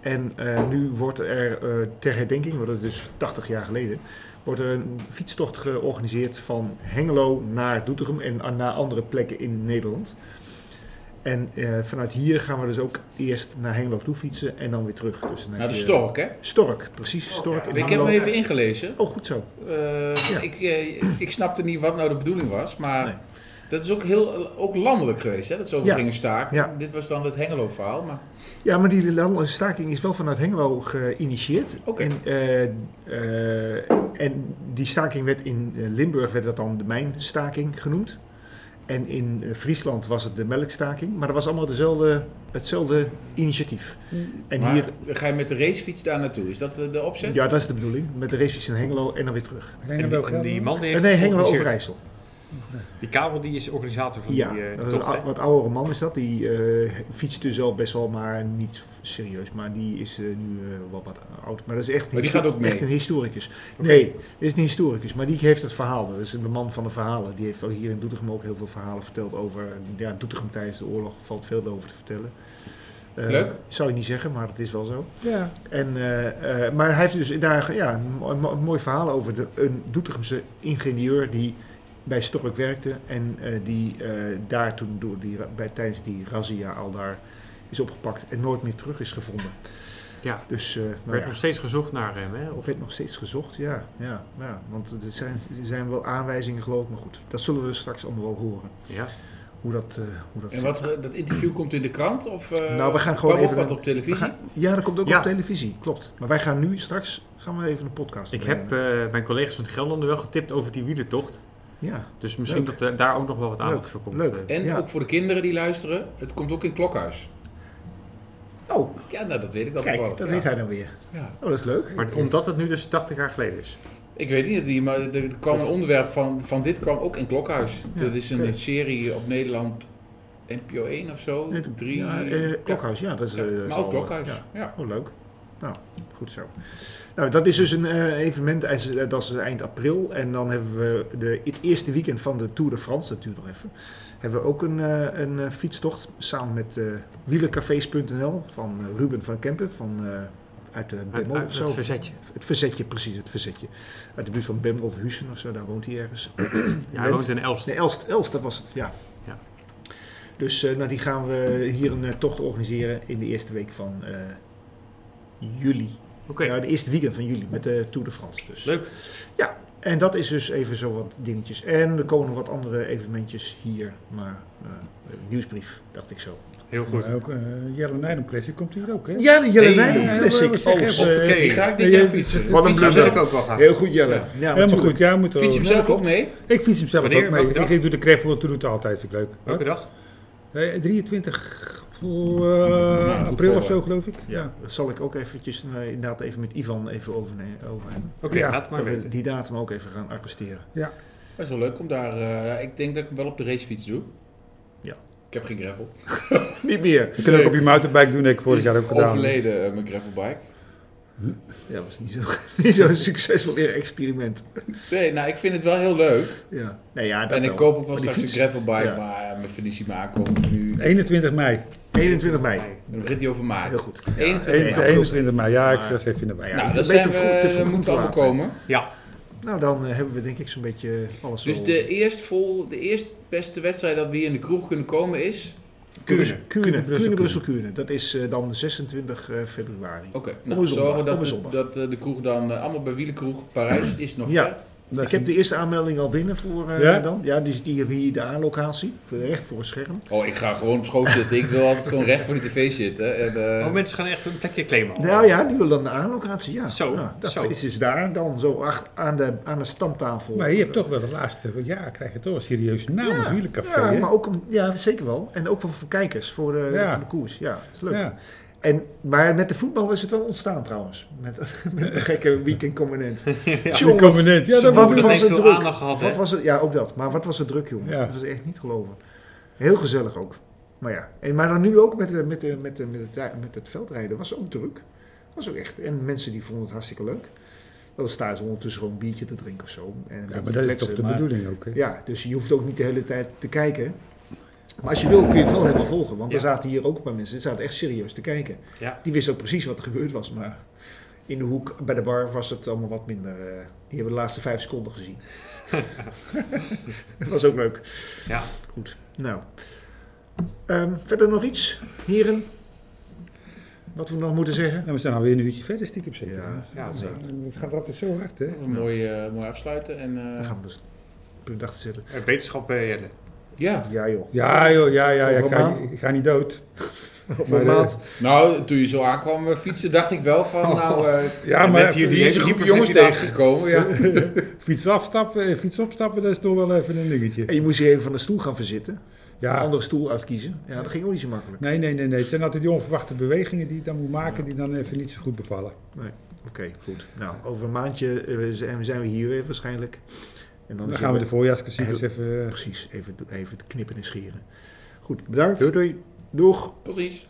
Speaker 5: En eh, nu wordt er eh, ter herdenking, want dat is dus 80 jaar geleden, wordt er een fietstocht georganiseerd van Hengelo naar Doetinchem en a- naar andere plekken in Nederland. En eh, vanuit hier gaan we dus ook eerst naar Hengelo toe fietsen en dan weer terug. Dus dan heb
Speaker 2: Nou, de
Speaker 5: je-
Speaker 2: stork, hè?
Speaker 5: Stork, precies. Stork. in
Speaker 2: Ik heb
Speaker 5: Hengelo.
Speaker 2: hem even ingelezen.
Speaker 5: Oh, goed zo.
Speaker 2: Eh,
Speaker 5: Ja.
Speaker 2: ik, eh, ik snapte niet wat nou de bedoeling was, maar
Speaker 5: Nee.
Speaker 2: dat is ook heel ook landelijk geweest, hè? Dat ze over
Speaker 5: Ja.
Speaker 2: gingen staken.
Speaker 5: Ja.
Speaker 2: Dit was dan het Hengelo-verhaal, maar
Speaker 5: Ja, maar die landelijke staking is wel vanuit Hengelo geïnitieerd.
Speaker 2: Oké.
Speaker 5: En, eh, eh, en die staking werd in eh, Limburg werd dat dan de mijnstaking genoemd. En in eh, Friesland was het de melkstaking. Maar dat was allemaal dezelfde, hetzelfde initiatief. En
Speaker 2: maar
Speaker 5: hier,
Speaker 2: ga je met de racefiets daar naartoe? Is dat eh, de opzet?
Speaker 5: ja, dat is de bedoeling. Met de racefiets in Hengelo en dan weer terug.
Speaker 4: En
Speaker 1: Hengelo
Speaker 4: die, en die
Speaker 1: Gelderland?
Speaker 4: man die
Speaker 5: Eh,
Speaker 4: heeft
Speaker 5: nee,
Speaker 4: het
Speaker 5: Hengelo
Speaker 4: georganiseerd.
Speaker 5: Overijssel.
Speaker 4: Die kabel die is de organisator van
Speaker 5: Ja,
Speaker 4: die eh,
Speaker 5: dat is een nou
Speaker 4: tocht, hè?
Speaker 5: ou- wat oudere man is dat. Die eh, fietst dus al best wel, maar niet f- serieus. Maar die is eh, nu eh, wel wat oud. Maar dat is echt, een
Speaker 2: Maar die
Speaker 5: histo-
Speaker 2: gaat ook mee?
Speaker 5: echt een historicus.
Speaker 4: Oké.
Speaker 5: Nee, dit is een historicus. Maar die heeft het verhaal. Dat is een man van de verhalen. Die heeft al hier in Doetinchem ook heel veel verhalen verteld over... Ja, Doetinchem tijdens de oorlog valt veel over te vertellen. Eh,
Speaker 2: Leuk.
Speaker 5: Zou je niet zeggen, maar het is wel zo.
Speaker 1: Ja.
Speaker 5: En, eh, eh, maar hij heeft dus daar ja, een mo- mo- mooi verhaal over de, een Doetinchemse ingenieur die bij Stork werkte en eh, die eh, daar toen door die, ra- bij, tijdens die razzia al daar is opgepakt en nooit meer terug is gevonden.
Speaker 4: Ja.
Speaker 5: Dus eh
Speaker 4: Er
Speaker 5: nou
Speaker 4: werd
Speaker 5: ja,
Speaker 4: nog steeds gezocht naar hem, hè? Of,
Speaker 5: werd nog steeds gezocht, ja. ja, ja want er zijn, er zijn wel aanwijzingen geloof ik, maar goed. Dat zullen we straks allemaal wel horen,
Speaker 4: ja.
Speaker 5: hoe dat, eh, hoe dat
Speaker 2: En
Speaker 5: zit.
Speaker 2: wat, eh, dat interview komt in de krant? Of, eh,
Speaker 5: Nou, we gaan gewoon
Speaker 2: kwam
Speaker 5: even
Speaker 2: ook wat
Speaker 5: een-
Speaker 2: op
Speaker 5: We
Speaker 2: televisie?
Speaker 5: gaan- ja, dat komt ook
Speaker 4: Ja.
Speaker 5: op televisie, klopt. Maar wij gaan nu straks, gaan we even een podcast
Speaker 4: Ik
Speaker 5: opnemen.
Speaker 4: heb eh, mijn collega's van het Gelderlanden wel getipt over die wielertocht.
Speaker 5: ja.
Speaker 4: Dus misschien
Speaker 5: Leuk.
Speaker 4: dat er daar ook nog wel wat aandacht
Speaker 5: Leuk,
Speaker 4: voor komt.
Speaker 5: leuk.
Speaker 4: eh.
Speaker 2: En
Speaker 5: Ja.
Speaker 2: ook voor de kinderen die luisteren, het komt ook in Klokhuis.
Speaker 5: Oh,
Speaker 2: Ja, nou, dat weet ik al
Speaker 5: kijk,
Speaker 2: toevallig,
Speaker 5: dat
Speaker 2: ja.
Speaker 5: weet hij dan weer.
Speaker 2: Ja.
Speaker 5: Oh, dat is leuk.
Speaker 4: Maar omdat het nu dus 80 jaar geleden is.
Speaker 2: Ik weet niet, die, maar er er kwam een onderwerp van, van dit kwam ook in Klokhuis.
Speaker 5: Ja,
Speaker 2: dat is een
Speaker 5: oké.
Speaker 2: serie op Nederland NPO 1 of zo.
Speaker 5: Nee, het-
Speaker 2: Drie.
Speaker 5: ja, eh, klokhuis, ja, dat is.
Speaker 2: Ja,
Speaker 5: eh, dat is
Speaker 2: maar ook
Speaker 5: al-
Speaker 2: Klokhuis.
Speaker 5: ja.
Speaker 2: Ja.
Speaker 5: Oh, leuk. Nou, goed zo. Nou, dat is dus een eh, evenement, eh, dat is eind april. En dan hebben we de, het eerste weekend van de Tour de France, dat duurt nog even. Hebben we ook een, eh, een eh, fietstocht samen met eh wielercafés.nl van eh, Ruben van Kempen van, eh, uit de
Speaker 4: Uit,
Speaker 5: Bemmel
Speaker 4: uit
Speaker 5: of zo.
Speaker 4: het verzetje.
Speaker 5: Het verzetje, precies, het verzetje. Uit de buurt van Bemmel of Husen of zo, daar woont hij ergens.
Speaker 4: Ja, hij woont in Elst.
Speaker 5: Nee, Elst, Elst, dat was het, ja.
Speaker 4: Ja.
Speaker 5: Dus eh, nou, die gaan we hier een eh, tocht organiseren in de eerste week van eh, juli.
Speaker 4: Oké,
Speaker 5: Ja, de eerste weekend van juli met de Tour de France. Dus.
Speaker 4: leuk.
Speaker 5: En dat is dus even zo wat dingetjes. En er komen nog wat andere evenementjes hier, maar eh, nieuwsbrief, dacht ik zo.
Speaker 4: Heel goed.
Speaker 1: Maar ook eh Jelle Nijden Classic komt hier ook, hè?
Speaker 5: Ja, de Jelle
Speaker 2: Hey.
Speaker 5: Nijden
Speaker 1: Ja,
Speaker 5: Classic.
Speaker 1: we zeggen
Speaker 5: Oh,
Speaker 1: even,
Speaker 4: Oké,
Speaker 1: eh,
Speaker 2: Die ga ik dit
Speaker 1: Nee,
Speaker 2: jaar
Speaker 1: je-
Speaker 2: fietsen.
Speaker 3: Wat een
Speaker 2: Fietsen
Speaker 4: daar wil
Speaker 2: zelf
Speaker 4: ik
Speaker 2: ook.
Speaker 4: ook wel gaan.
Speaker 1: Heel goed, Jelle.
Speaker 2: Ja.
Speaker 5: Ja,
Speaker 1: Helemaal
Speaker 5: natuurlijk.
Speaker 1: goed, jij moet
Speaker 2: Fiets je hem
Speaker 1: wel-
Speaker 2: zelf
Speaker 1: Ja,
Speaker 2: ook mee?
Speaker 1: Ik fiets hem zelf
Speaker 4: Wanneer?
Speaker 1: ook mee.
Speaker 4: Welke
Speaker 1: Ik,
Speaker 4: dag?
Speaker 1: ik doe de Creffelotte route altijd, vind ik leuk.
Speaker 4: Welke dag?
Speaker 1: Eh, 23
Speaker 2: Nou,
Speaker 1: voor, eh,
Speaker 2: goed
Speaker 1: april of
Speaker 2: voorbeeld.
Speaker 1: zo, geloof ik.
Speaker 5: Ja, dat zal ik ook eventjes eh, inderdaad even met Ivan even overnemen. overnemen.
Speaker 4: Oké,
Speaker 1: Ja,
Speaker 4: laat het maar
Speaker 5: Dat we
Speaker 4: weten.
Speaker 5: die datum ook even gaan arresteren.
Speaker 2: Dat is wel leuk om daar... eh, ik denk dat ik hem wel op de racefiets doe.
Speaker 5: Ja.
Speaker 2: Ik heb geen gravel.
Speaker 5: Niet meer.
Speaker 1: Je kunt ook op je mountainbike doen, heb ik vorig jaar ook gedaan.
Speaker 2: Overleden eh, mijn gravelbike.
Speaker 5: Ja, dat was niet zo'n niet zo [laughs] succesvol experiment.
Speaker 2: Nee, nou ik vind het wel heel leuk.
Speaker 5: Ja. Nee, ja, dat
Speaker 2: en ik
Speaker 5: wel.
Speaker 2: koop ook wel
Speaker 5: Maar die
Speaker 2: straks een
Speaker 5: fiets-
Speaker 2: gravelbike,
Speaker 5: Ja.
Speaker 2: maar ja, mijn Fenici aankomt nu.
Speaker 1: 21 mei.
Speaker 5: 21 mei.
Speaker 2: Dan begint hij over maart.
Speaker 5: Heel goed.
Speaker 2: 21
Speaker 1: 21,
Speaker 2: mei.
Speaker 5: Ja, klopt.
Speaker 1: 21 mei, ja, ik was even in de mei.
Speaker 5: Ja,
Speaker 2: Nou,
Speaker 5: een
Speaker 2: dat zijn
Speaker 5: beetje vroeg- te
Speaker 2: we,
Speaker 5: vroeg
Speaker 2: dat
Speaker 5: om
Speaker 2: moet
Speaker 5: te
Speaker 2: allemaal
Speaker 5: laat zijn.
Speaker 2: komen.
Speaker 4: Ja,
Speaker 5: Nou, dan eh, hebben we denk ik zo'n beetje alles
Speaker 2: Dus
Speaker 5: al-
Speaker 2: de eerst vol, de eerst beste wedstrijd dat we hier in de kroeg kunnen komen is.
Speaker 4: Kuurne.
Speaker 5: Kuurne,
Speaker 1: Brussel,
Speaker 5: Kuurne, Brussel, Kuurne. Dat is eh, dan 26 eh, februari.
Speaker 2: Oké,
Speaker 5: een
Speaker 2: nou,
Speaker 5: zondag,
Speaker 2: zorgen
Speaker 5: om
Speaker 2: dat,
Speaker 5: een
Speaker 2: de,
Speaker 5: zondag.
Speaker 2: dat eh, de kroeg dan eh, allemaal bij Wielenkroeg
Speaker 5: [clears throat]
Speaker 2: Parijs is nog
Speaker 5: Ja.
Speaker 2: ver.
Speaker 1: Dat
Speaker 5: ik
Speaker 1: is
Speaker 5: heb
Speaker 1: een-
Speaker 5: de eerste aanmelding al binnen voor eh,
Speaker 1: Ja?
Speaker 5: dan. Ja, die, die hebben hier de aanlocatie. Voor- Recht voor het scherm.
Speaker 2: Oh, ik ga gewoon op schoot zitten. Ik wil altijd gewoon recht voor de tv zitten. En, eh,
Speaker 4: oh, mensen gaan echt een plekje claimen. al.
Speaker 5: Nou ja, die willen dan de aanlocatie, ja.
Speaker 4: Oh. Zo,
Speaker 5: Ja, dat
Speaker 4: zo.
Speaker 5: is dus daar dan zo ach- aan de, aan de stamtafel.
Speaker 1: Maar je hebt toch wel de laatste jaar, krijg je toch een serieuze naam als wielercafé,
Speaker 5: Ja,
Speaker 1: hè?
Speaker 5: maar ook, om- ja, zeker wel. En ook voor, voor kijkers, voor, eh,
Speaker 1: Ja.
Speaker 5: voor de koers. Ja, is leuk.
Speaker 1: Ja.
Speaker 5: En, maar met de voetbal is het wel ontstaan trouwens. Met, [laughs] met de gekke
Speaker 1: [laughs]
Speaker 5: weekendcomponent. ja,
Speaker 1: Die komen net. Ja, dat
Speaker 5: Wat
Speaker 1: wordt
Speaker 4: Dat
Speaker 5: was
Speaker 4: heeft
Speaker 5: het
Speaker 4: veel
Speaker 5: druk?
Speaker 4: aandacht gehad,
Speaker 5: Wat
Speaker 4: hè?
Speaker 5: was het? Ja, ook dat. Maar wat was het druk, jongen?
Speaker 1: Ja.
Speaker 5: Dat was echt niet geloven. Heel gezellig ook. Maar ja, en, maar dan nu ook met, de- met, de- met, de- met, het, met het veldrijden was ook druk. Was ook echt. En mensen die vonden het hartstikke leuk. Dan staan ze ondertussen gewoon een biertje te drinken of zo. En een
Speaker 1: Ja,
Speaker 5: beetje
Speaker 1: maar
Speaker 5: te
Speaker 1: dat is
Speaker 5: kletsen.
Speaker 1: toch de
Speaker 5: Maar-
Speaker 1: bedoeling ook, hè?
Speaker 5: Ja, dus je hoeft ook niet de hele tijd te kijken. Maar als je wil kun je het wel helemaal volgen. Want
Speaker 4: Ja.
Speaker 5: er zaten hier ook een paar mensen. Die zaten echt serieus te kijken.
Speaker 4: Ja.
Speaker 5: Die wisten ook precies wat er gebeurd was. Maar in de hoek bij de bar was het allemaal wat minder. eh, die hebben de laatste vijf seconden
Speaker 4: [laughs]
Speaker 5: gezien. dat was ook leuk.
Speaker 4: Ja.
Speaker 5: Goed. Nou. Ehm, verder nog iets, heren? Wat we nog moeten zeggen?
Speaker 1: Nou, we zijn alweer een uurtje verder stiekem zitten.
Speaker 5: Ja,
Speaker 1: Ja,
Speaker 4: ja,
Speaker 5: zeker.
Speaker 1: Het gaat altijd zo hard, hè?
Speaker 2: dat is een mooi, eh, mooi afsluiten. En, eh,
Speaker 5: Dan gaan we dus op de dag zetten.
Speaker 4: Eh, Wetenschap bij Jelle.
Speaker 2: ja.
Speaker 5: Ja joh.
Speaker 1: Ja, joh, ja, ja, ja.
Speaker 5: Over
Speaker 1: Ik
Speaker 5: een
Speaker 1: ga,
Speaker 5: maand?
Speaker 1: ik ga niet dood.
Speaker 5: Of
Speaker 1: Maar,
Speaker 5: een
Speaker 1: eh,
Speaker 5: maand.
Speaker 2: Nou, toen je zo aankwam eh, fietsen, dacht ik wel
Speaker 5: Oh.
Speaker 2: van, nou, eh
Speaker 1: Ja,
Speaker 4: En
Speaker 1: maar
Speaker 4: met jullie-
Speaker 2: die is een groep jongens tegengekomen. Ja.
Speaker 1: [laughs]
Speaker 5: [laughs]
Speaker 1: fiets, afstappen, eh, fiets opstappen, dat is toch wel even een
Speaker 5: En
Speaker 1: dingetje.
Speaker 5: je moest hier even van de stoel gaan verzitten. Een
Speaker 1: Ja,
Speaker 5: andere stoel uitkiezen. Ja, dat ging ook niet zo makkelijk.
Speaker 1: nee, nee, nee, nee. Het zijn altijd die onverwachte bewegingen die je dan moet maken, die dan even niet zo goed bevallen.
Speaker 5: Oké, goed. Nou, over een maandje eh, zijn zijn we hier weer waarschijnlijk. En dan,
Speaker 1: Dan
Speaker 5: is
Speaker 1: gaan we de
Speaker 5: het-
Speaker 1: voorjaarsklassiekers even... eh,
Speaker 5: Precies, even, even knippen en scheren. Goed, bedankt.
Speaker 4: Doei doei.
Speaker 5: Doeg.
Speaker 2: Tot ziens.